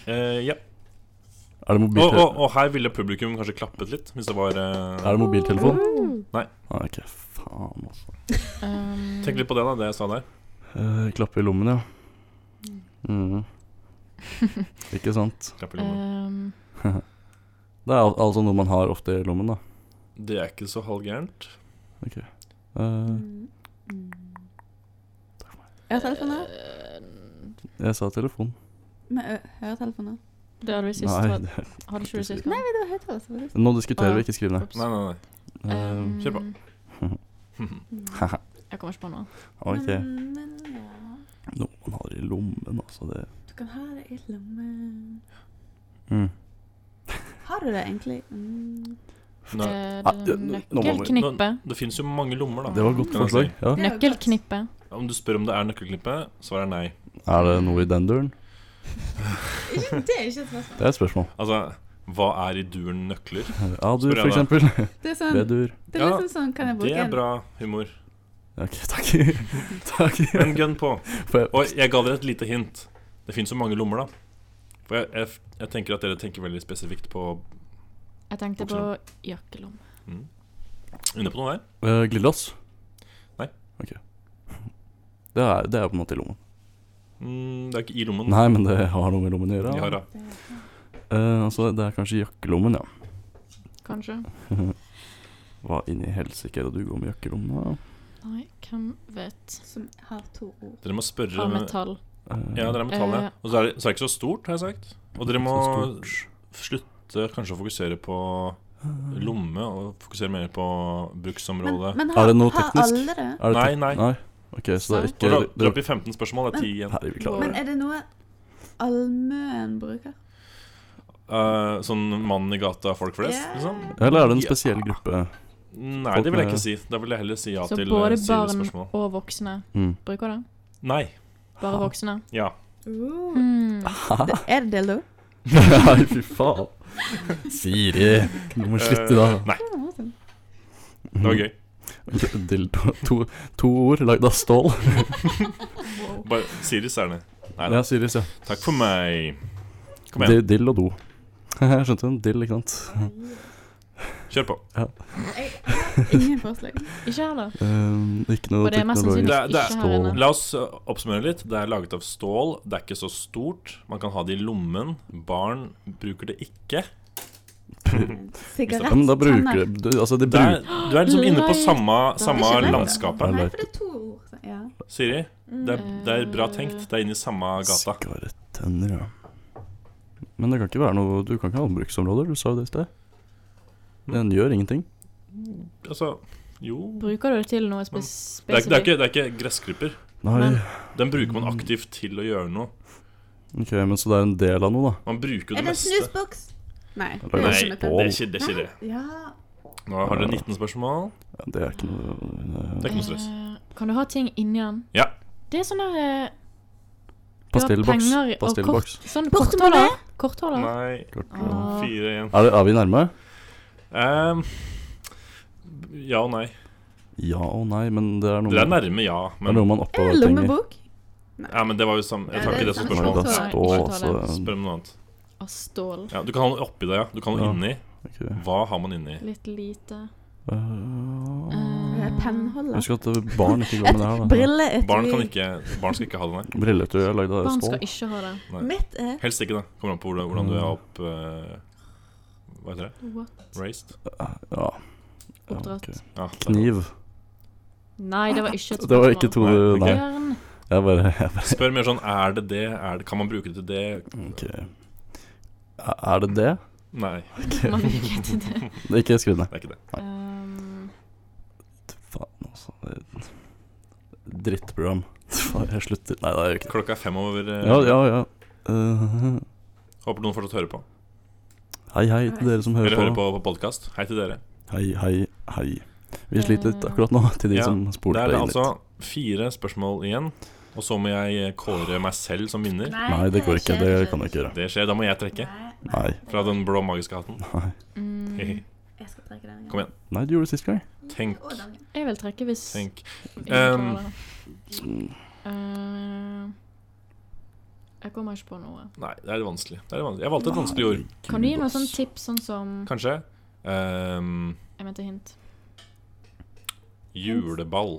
Speaker 2: Eh,
Speaker 1: er
Speaker 2: ja.
Speaker 1: det
Speaker 2: og, og,
Speaker 1: mobiltelefon?
Speaker 2: og her ville publikum kanskje klappet litt, hvis det var eh,
Speaker 1: Er det mobiltelefon?
Speaker 2: Nei.
Speaker 1: Ah, ok, faen, altså.
Speaker 4: Um,
Speaker 2: Tenk litt på det, da, det jeg sa der.
Speaker 1: Eh, klappe i lommen, ja. Mhm. Ikke sant.
Speaker 2: Klapp i lommen.
Speaker 4: um,
Speaker 1: Det er al altså noe man har ofte i lommen, da.
Speaker 2: Det er ikke så halvgærent.
Speaker 1: Eh,
Speaker 3: Mm.
Speaker 4: um,
Speaker 3: Høretelefoner?
Speaker 4: Eh,
Speaker 1: jeg sa telefon.
Speaker 3: Med ø- høretelefoner?
Speaker 4: det hadde vi sist.
Speaker 1: Nei,
Speaker 4: Hadde,
Speaker 1: det,
Speaker 4: hadde ikke du sist
Speaker 3: Nei,
Speaker 4: gang?
Speaker 3: men det var høyttaler som var det.
Speaker 1: nå diskuterer
Speaker 3: Ah.
Speaker 1: vi, ikke skriv ned.
Speaker 4: Ops.
Speaker 2: Nei, nei, nei.
Speaker 1: Eh,
Speaker 4: Um,
Speaker 2: kjør på.
Speaker 1: haha,
Speaker 4: Jeg kommer ikke på noe.
Speaker 1: Eh, ok.
Speaker 3: Mm, Men, men, ja.
Speaker 1: Noe man har i lommen, altså. Det
Speaker 3: Du kan ha det i lommen.
Speaker 1: mm.
Speaker 3: Har du det egentlig? Mm.
Speaker 2: Nei.
Speaker 4: Eh,
Speaker 1: Ah,
Speaker 4: det-
Speaker 1: ja, nå- nå må vi-
Speaker 4: Nøkkelknippe.
Speaker 2: Det fins jo mange lommer, da.
Speaker 1: Det var et godt
Speaker 2: Kan jeg si.
Speaker 1: forslag. Ja.
Speaker 3: Det er jo godt.
Speaker 4: Nøkkelknippe.
Speaker 2: Om du spør om det er nøkkelknippe, svaret er nei.
Speaker 1: Er det noe i den duren?
Speaker 3: Det er ikke et spørsmål.
Speaker 1: Det er et spørsmål.
Speaker 2: Altså, hva er i duren nøkler?
Speaker 1: A-dur,
Speaker 2: Spør jeg
Speaker 1: for
Speaker 2: da.
Speaker 1: eksempel.
Speaker 3: Det er, sånn,
Speaker 1: B-dur.
Speaker 3: det er
Speaker 2: Ja,
Speaker 3: liksom sånn Kan jeg
Speaker 2: Det
Speaker 3: bruke
Speaker 2: er
Speaker 3: en
Speaker 2: bra humor.
Speaker 1: Ok, takk. takk.
Speaker 2: Men gønn på.
Speaker 1: Får jeg-
Speaker 2: Og jeg ga dere et lite hint. Det fins jo mange lommer, da. For jeg, jeg, jeg tenker at dere tenker veldig spesifikt på
Speaker 4: Jeg tenkte på
Speaker 2: Bukselomme.
Speaker 4: jakkelomme.
Speaker 2: Inne på noe der?
Speaker 1: Eh, Glidelås?
Speaker 2: Nei.
Speaker 1: Ok. Det er, det er på en måte i lommen.
Speaker 2: Mm, det er ikke i lommen.
Speaker 1: Nei, men det har noe med lommen å gjøre.
Speaker 2: De har, da.
Speaker 1: Eh, altså, det er kanskje jakkelommen, ja.
Speaker 4: Kanskje.
Speaker 1: Hva inni helsike er det du går med jakkelommen?
Speaker 4: Nei, hvem vet.
Speaker 3: som har to ord?
Speaker 2: Dere må spørre
Speaker 4: Av metall.
Speaker 1: da? Eh,
Speaker 2: Ja, det er metall, ja.
Speaker 4: Eh.
Speaker 2: Og så er, det, så er det ikke så stort, har jeg sagt. Og dere må
Speaker 1: Så stort.
Speaker 2: slutte kanskje å fokusere på Eh, lomme, og fokusere mer på bruksområdet.
Speaker 3: men
Speaker 1: Er det noe teknisk?
Speaker 3: Har alle det?
Speaker 1: Er det
Speaker 2: Nei,
Speaker 1: tek-
Speaker 2: nei.
Speaker 1: nei. Ok, så det er
Speaker 2: Dere
Speaker 1: ikke
Speaker 2: har- dere er oppe i 15 spørsmål. Det er 10 igjen.
Speaker 1: Herre, vi klarer
Speaker 3: Men
Speaker 1: det.
Speaker 3: er det noe allmuen bruker?
Speaker 2: Eh, sånn mann i gata, folk flest,
Speaker 3: Ja.
Speaker 2: liksom?
Speaker 1: Eller er det en
Speaker 2: Ja.
Speaker 1: spesiell gruppe?
Speaker 2: Nei,
Speaker 1: Folk
Speaker 2: det vil jeg
Speaker 1: med-
Speaker 2: ikke si. Da vil jeg heller si ja
Speaker 4: Så
Speaker 2: til
Speaker 4: både
Speaker 2: eh, Siljes
Speaker 4: barn
Speaker 2: spørsmål.
Speaker 4: og voksne
Speaker 1: Mm.
Speaker 4: bruker det?
Speaker 2: Nei.
Speaker 4: Bare
Speaker 1: Ah.
Speaker 4: voksne?
Speaker 2: Ja.
Speaker 3: Uh.
Speaker 1: Mm.
Speaker 4: Hmm.
Speaker 3: Det,
Speaker 2: Ah.
Speaker 3: er det dildo?
Speaker 1: Nei, fy faen. Siri, du må slutte da.
Speaker 2: Eh, Nei,
Speaker 3: Hva
Speaker 2: det var gøy.
Speaker 1: Dildo. To, to ord lagd av stål.
Speaker 2: Bare Siris er det. Nei da.
Speaker 1: Ja, Siris, ja.
Speaker 2: Takk for meg. Kom igjen,
Speaker 1: Di- Dill og do. Skjønte du? Dill, ikke
Speaker 2: Hm.
Speaker 1: sant.
Speaker 2: kjør på.
Speaker 3: Ingen forslag.
Speaker 4: Ikke heller.
Speaker 1: Um, ikke noe
Speaker 4: Og det er mest
Speaker 1: teknologisk.
Speaker 2: Det er-
Speaker 4: sannsynlig
Speaker 2: det er-
Speaker 4: ikke her inne.
Speaker 2: La oss eh, oppsummere litt. Det er laget av stål. Det er ikke så stort. Man kan ha det i lommen. Barn bruker det ikke.
Speaker 3: Sigarett.
Speaker 1: Ja, men da bruker
Speaker 3: tenner.
Speaker 1: du det Altså, det
Speaker 2: Du er,
Speaker 1: bruker
Speaker 2: du er liksom inne på
Speaker 4: Light.
Speaker 2: samme, samme
Speaker 3: Ikke light.
Speaker 2: landskapet.
Speaker 3: Nei, for det er to ord. så- Ja. Mm.
Speaker 2: Siri, det er, det er bra tenkt. Det er inne i samme gata.
Speaker 1: Sigarettenner, ja. Men det kan ikke være noe Du kan ikke ha bruksområder, du sa jo det i sted.
Speaker 2: Mm.
Speaker 1: Den gjør ingenting.
Speaker 2: Altså, jo
Speaker 4: Bruker du det til noe
Speaker 2: Men-
Speaker 4: spes
Speaker 2: Det er, det er,
Speaker 4: spesifikt?
Speaker 2: ikke, det er ikke gressklipper.
Speaker 1: Nei,
Speaker 4: Men-
Speaker 2: Den bruker man aktivt til å gjøre noe.
Speaker 1: ok, men så det er en del av noe, da.
Speaker 2: Man bruker jo det
Speaker 3: Er det en
Speaker 2: meste.
Speaker 3: snusboks? Nei.
Speaker 1: Eller
Speaker 3: det
Speaker 2: Nei,
Speaker 3: er
Speaker 2: det
Speaker 3: ikke
Speaker 2: er
Speaker 3: noe.
Speaker 1: bål.
Speaker 2: ikke det. Er ikke det.
Speaker 3: Ja.
Speaker 2: Nå har dere 19 spørsmål.
Speaker 1: Ja, det er ikke noe
Speaker 2: Det er ikke noe stress.
Speaker 4: Eh, Kan du ha ting inni den?
Speaker 2: Ja.
Speaker 4: Det er sånn der eh, du har
Speaker 1: Pastillboks.
Speaker 4: penger og
Speaker 1: Pastillboks.
Speaker 4: Kort, sånn
Speaker 3: Portemonnaie?
Speaker 4: kortholder.
Speaker 2: Nei,
Speaker 4: Kortholder. Ah.
Speaker 2: fire igjen.
Speaker 1: Er, det, er vi nærme?
Speaker 2: Ehm, ja og nei.
Speaker 1: Ja og nei, men det er noe
Speaker 2: Dere er
Speaker 1: man,
Speaker 2: nærme ja,
Speaker 1: det er
Speaker 2: men,
Speaker 1: noe man oppbevarer penger
Speaker 3: Lommebok?
Speaker 2: ja, men det var jo samme Jeg
Speaker 3: Ja,
Speaker 2: tar ikke
Speaker 3: det er
Speaker 2: det som
Speaker 3: samme
Speaker 1: Nei,
Speaker 2: spørsmål.
Speaker 1: da
Speaker 4: Nei,
Speaker 1: står
Speaker 4: ikke
Speaker 1: altså
Speaker 4: ta
Speaker 2: Spør om noe annet.
Speaker 4: Av stål.
Speaker 2: Ja, du kan ha noe oppi det, ja. Du kan ha noe
Speaker 1: Ja.
Speaker 2: inni.
Speaker 1: ok.
Speaker 2: Hva har man inni?
Speaker 4: Litt lite.
Speaker 1: Øh,
Speaker 4: Eh,
Speaker 3: Pennholder?
Speaker 1: Husk at øh, barn ikke går med det her. da
Speaker 3: Brilleetui?
Speaker 2: Barn, kan ikke, barn skal ikke ha det, nei.
Speaker 1: Briller tror jeg er lagd av
Speaker 4: Barn
Speaker 1: stål.
Speaker 4: skal ikke ha det.
Speaker 3: Mitt er
Speaker 2: Helst ikke, da. Kommer an på hvordan, hvordan du er opp eh, Hva heter det?
Speaker 4: What?
Speaker 2: Raised?
Speaker 1: Ja, ja,
Speaker 4: Oppdratt.
Speaker 1: ok.
Speaker 2: Ja, der.
Speaker 1: Kniv.
Speaker 4: Nei, det var ikke et
Speaker 1: Det var ikke to du
Speaker 2: Nei, ok.
Speaker 1: Nei.
Speaker 4: Jern.
Speaker 1: Jeg bare, jeg bare
Speaker 2: Spør mer sånn Er det det? Er det, kan man bruke det til det?
Speaker 1: ok. Er det det?
Speaker 2: Nei,
Speaker 4: Man bruker ikke det.
Speaker 1: Det er Ikke skriv ned.
Speaker 2: det er ikke det.
Speaker 4: Um,
Speaker 1: Faen, altså. det er et Drittprogram. Faen, jeg slutter. Nei, det er jo ikke det.
Speaker 2: Klokka er fem over. eh,
Speaker 1: Ja, ja, ja. Øh,
Speaker 2: Håper noen fortsatt hører på.
Speaker 1: hei, hei til dere som hører
Speaker 2: Eller hører
Speaker 1: på.
Speaker 2: på på podkast. Hei til dere.
Speaker 1: Hei, hei, hei. Vi sliter litt akkurat nå, til de
Speaker 2: Ja,
Speaker 1: som
Speaker 2: Det
Speaker 1: spoler
Speaker 2: er
Speaker 1: det inn
Speaker 2: altså
Speaker 1: litt.
Speaker 2: fire spørsmål igjen, og så må jeg kåre meg selv som vinner.
Speaker 1: Nei, det går ikke. Det kan du ikke gjøre.
Speaker 2: Det skjer. Da må jeg trekke
Speaker 1: Nei.
Speaker 2: fra den blå magiske hatten.
Speaker 1: Nei,
Speaker 4: mm,
Speaker 3: Jeg skal trekke den.
Speaker 2: Kom igjen.
Speaker 1: Nei du gjorde det sist gang.
Speaker 2: Tenk,
Speaker 4: jeg vil trekke hvis
Speaker 2: tenk.
Speaker 4: ingen
Speaker 2: Um,
Speaker 4: klarer det. Eh, jeg kommer ikke på noe.
Speaker 2: Nei, det er litt vanskelig. Det er litt vanskelig. Jeg valgte et vanskelig ord.
Speaker 4: Kan du gi
Speaker 1: Gud,
Speaker 4: noen
Speaker 1: ass.
Speaker 4: sånn tips, sånn som
Speaker 2: Kanskje ehm,
Speaker 4: Jeg mente hint.
Speaker 2: juleball.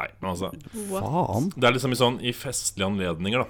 Speaker 2: Nei, men altså
Speaker 4: What?
Speaker 1: Faen.
Speaker 2: Det er liksom i sånn i festlige anledninger, da.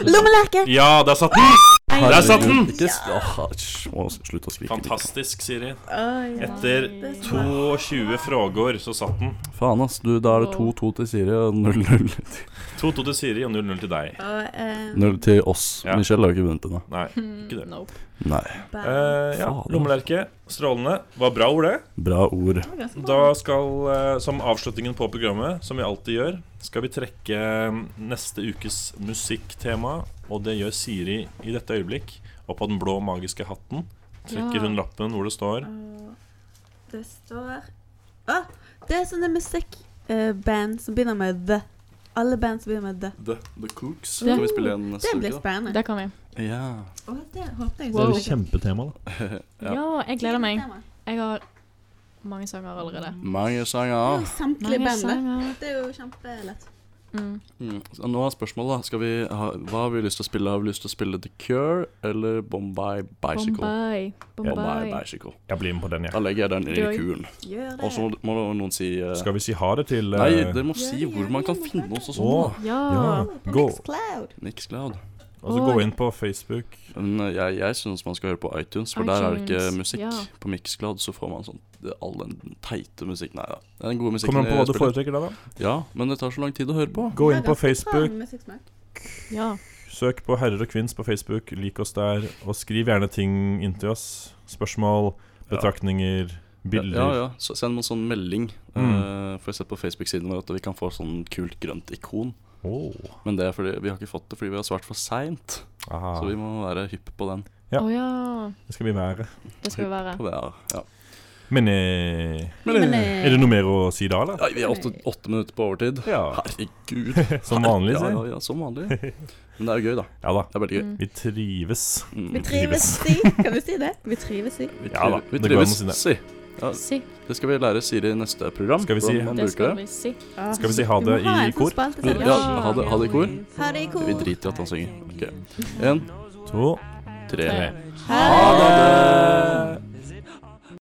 Speaker 3: Lommelerke!
Speaker 2: Ja, der satt den! Der satt den!
Speaker 1: Ikke s- Åh, hysj, må s- Slutt å skrike.
Speaker 2: Fantastisk, Siri.
Speaker 3: Å, ja.
Speaker 2: Etter
Speaker 3: Det er så bra.
Speaker 2: 22 frågor så satt den.
Speaker 1: Faen, ass. Du, da er det 2-2 til Siri og 0-0 til-
Speaker 2: 2-2 til Siri og 0-0 til deg.
Speaker 3: Og eh,
Speaker 1: 0 til oss.
Speaker 2: Ja.
Speaker 1: Michelle har jo ikke vunnet ennå.
Speaker 2: Nei.
Speaker 4: Hmm,
Speaker 2: Ikke det.
Speaker 4: Nope.
Speaker 1: Nei.
Speaker 3: bare-
Speaker 2: Eh, ja,
Speaker 1: Fader.
Speaker 2: lommelerke. Strålende. Var bra ord, det.
Speaker 1: Bra ord.
Speaker 3: Det var ganske bra.
Speaker 2: Da skal, eh, som avslutningen på programmet, som vi alltid gjør, skal vi trekke mm, neste ukes musikktema. Og det gjør Siri i dette øyeblikk. Og på den blå magiske hatten trekker
Speaker 4: Ja.
Speaker 2: hun lappen hvor det står
Speaker 3: Og Det står Å! Det er sånne musikkband som begynner med the. Alle band som begynner med the.
Speaker 1: The, the Cooks.
Speaker 4: Skal
Speaker 3: vi spille
Speaker 1: igjen
Speaker 3: Det blir spennende.
Speaker 4: Det kan vi.
Speaker 1: Ja.
Speaker 3: Å, det håper jeg
Speaker 6: Det er jo
Speaker 3: så.
Speaker 6: et kjempetema, da.
Speaker 1: Ja.
Speaker 4: Ja, jeg gleder meg. Jeg har mange sanger allerede.
Speaker 1: Mange
Speaker 3: Det er jo
Speaker 1: sanger.
Speaker 3: samtlige
Speaker 4: Mange
Speaker 3: band. det.
Speaker 4: sanger.
Speaker 3: Det er jo kjempelett.
Speaker 4: Mm.
Speaker 1: Mm. Så nå er spørsmålet, da. Skal vi ha, hva har vi lyst til å spille? Har vi lyst til å spille The Cure eller Bombay Bicycle?
Speaker 4: Bombay.
Speaker 1: Bombay
Speaker 4: Bombay.
Speaker 1: Bicycle.
Speaker 2: Jeg blir med på den,
Speaker 1: Da legger jeg den i
Speaker 4: Gøy.
Speaker 1: kuren.
Speaker 3: Gjør det.
Speaker 1: Og så må- må noen si eh,
Speaker 2: Skal vi si ha det til
Speaker 1: Nei,
Speaker 2: eh,
Speaker 1: dere må si hvor man kan finne oss og sånn.
Speaker 2: Åh.
Speaker 1: da.
Speaker 4: Ja.
Speaker 2: Ja.
Speaker 3: På
Speaker 2: Gå.
Speaker 3: Mixcloud.
Speaker 1: Mixcloud.
Speaker 2: Altså gå inn på Facebook.
Speaker 1: Men eh, jeg, jeg syns man skal høre på iTunes, for der er det ikke
Speaker 4: iTunes,
Speaker 1: musikk.
Speaker 4: ja.
Speaker 1: På Mixcloud så får man sånn det- all den teite musikken. Nei da. Det er den gode musikken.
Speaker 2: Kommer an
Speaker 1: jeg
Speaker 2: på hva du
Speaker 1: spiller.
Speaker 2: foretrekker da, da.
Speaker 1: Ja, men det tar så lang tid å høre på.
Speaker 2: Gå inn
Speaker 3: Det er
Speaker 2: på
Speaker 3: ganske
Speaker 2: Facebook.
Speaker 3: bra musikksmak.
Speaker 4: ja.
Speaker 2: Søk på Herrer og Kvinns på Facebook, lik oss der, og skriv gjerne ting inn til oss. Spørsmål, betraktninger, bilder.
Speaker 1: Ja, ja. Så send meg en sånn melding.
Speaker 2: Mm.
Speaker 1: eh, for jeg ser på Facebook-siden vår at vi kan få sånn kult grønt ikon.
Speaker 2: Åh.
Speaker 1: Men det er fordi vi har ikke fått det fordi vi har svart for seint.
Speaker 2: Aha.
Speaker 1: Så vi må være hypp på den.
Speaker 2: Ja.
Speaker 4: Å ja.
Speaker 2: Det skal vi være.
Speaker 4: Det skal vi være.
Speaker 1: På det, ja. Ja.
Speaker 2: Men eh,
Speaker 3: Men,
Speaker 2: er det
Speaker 3: eh,
Speaker 2: noe mer å si da, eller?
Speaker 1: Ja, vi er åtte, åtte minutter på overtid.
Speaker 2: Ja.
Speaker 1: Herregud.
Speaker 2: Som Ah. vanlig,
Speaker 1: Ja, ja,
Speaker 2: si.
Speaker 1: ja, som vanlig. Men det er jo gøy, da.
Speaker 2: Ja da.
Speaker 1: Det er veldig gøy.
Speaker 4: Mm.
Speaker 2: Vi trives.
Speaker 3: Vi
Speaker 1: Mm.
Speaker 3: trives i Kan vi si det? Vi trives i
Speaker 1: Vi,
Speaker 2: Ja da,
Speaker 1: trives- vi
Speaker 2: det går an å
Speaker 1: trives.
Speaker 2: si det.
Speaker 1: Si.
Speaker 4: Si.
Speaker 1: Det skal vi lære Siri i neste program.
Speaker 2: Skal vi si-
Speaker 1: hvordan man
Speaker 4: Det
Speaker 1: bruker
Speaker 4: skal
Speaker 1: det.
Speaker 4: vi si.
Speaker 2: Skal vi si ha
Speaker 3: Du
Speaker 2: det
Speaker 3: må ha
Speaker 2: i
Speaker 3: en sånn
Speaker 2: kor?
Speaker 3: spalte som-
Speaker 1: Ah. Ja, ha det, ha det i kor.
Speaker 3: Ha det i kor.
Speaker 1: Vi driter i at han synger. Ok. Én,
Speaker 2: To,
Speaker 1: tre.
Speaker 2: ha det!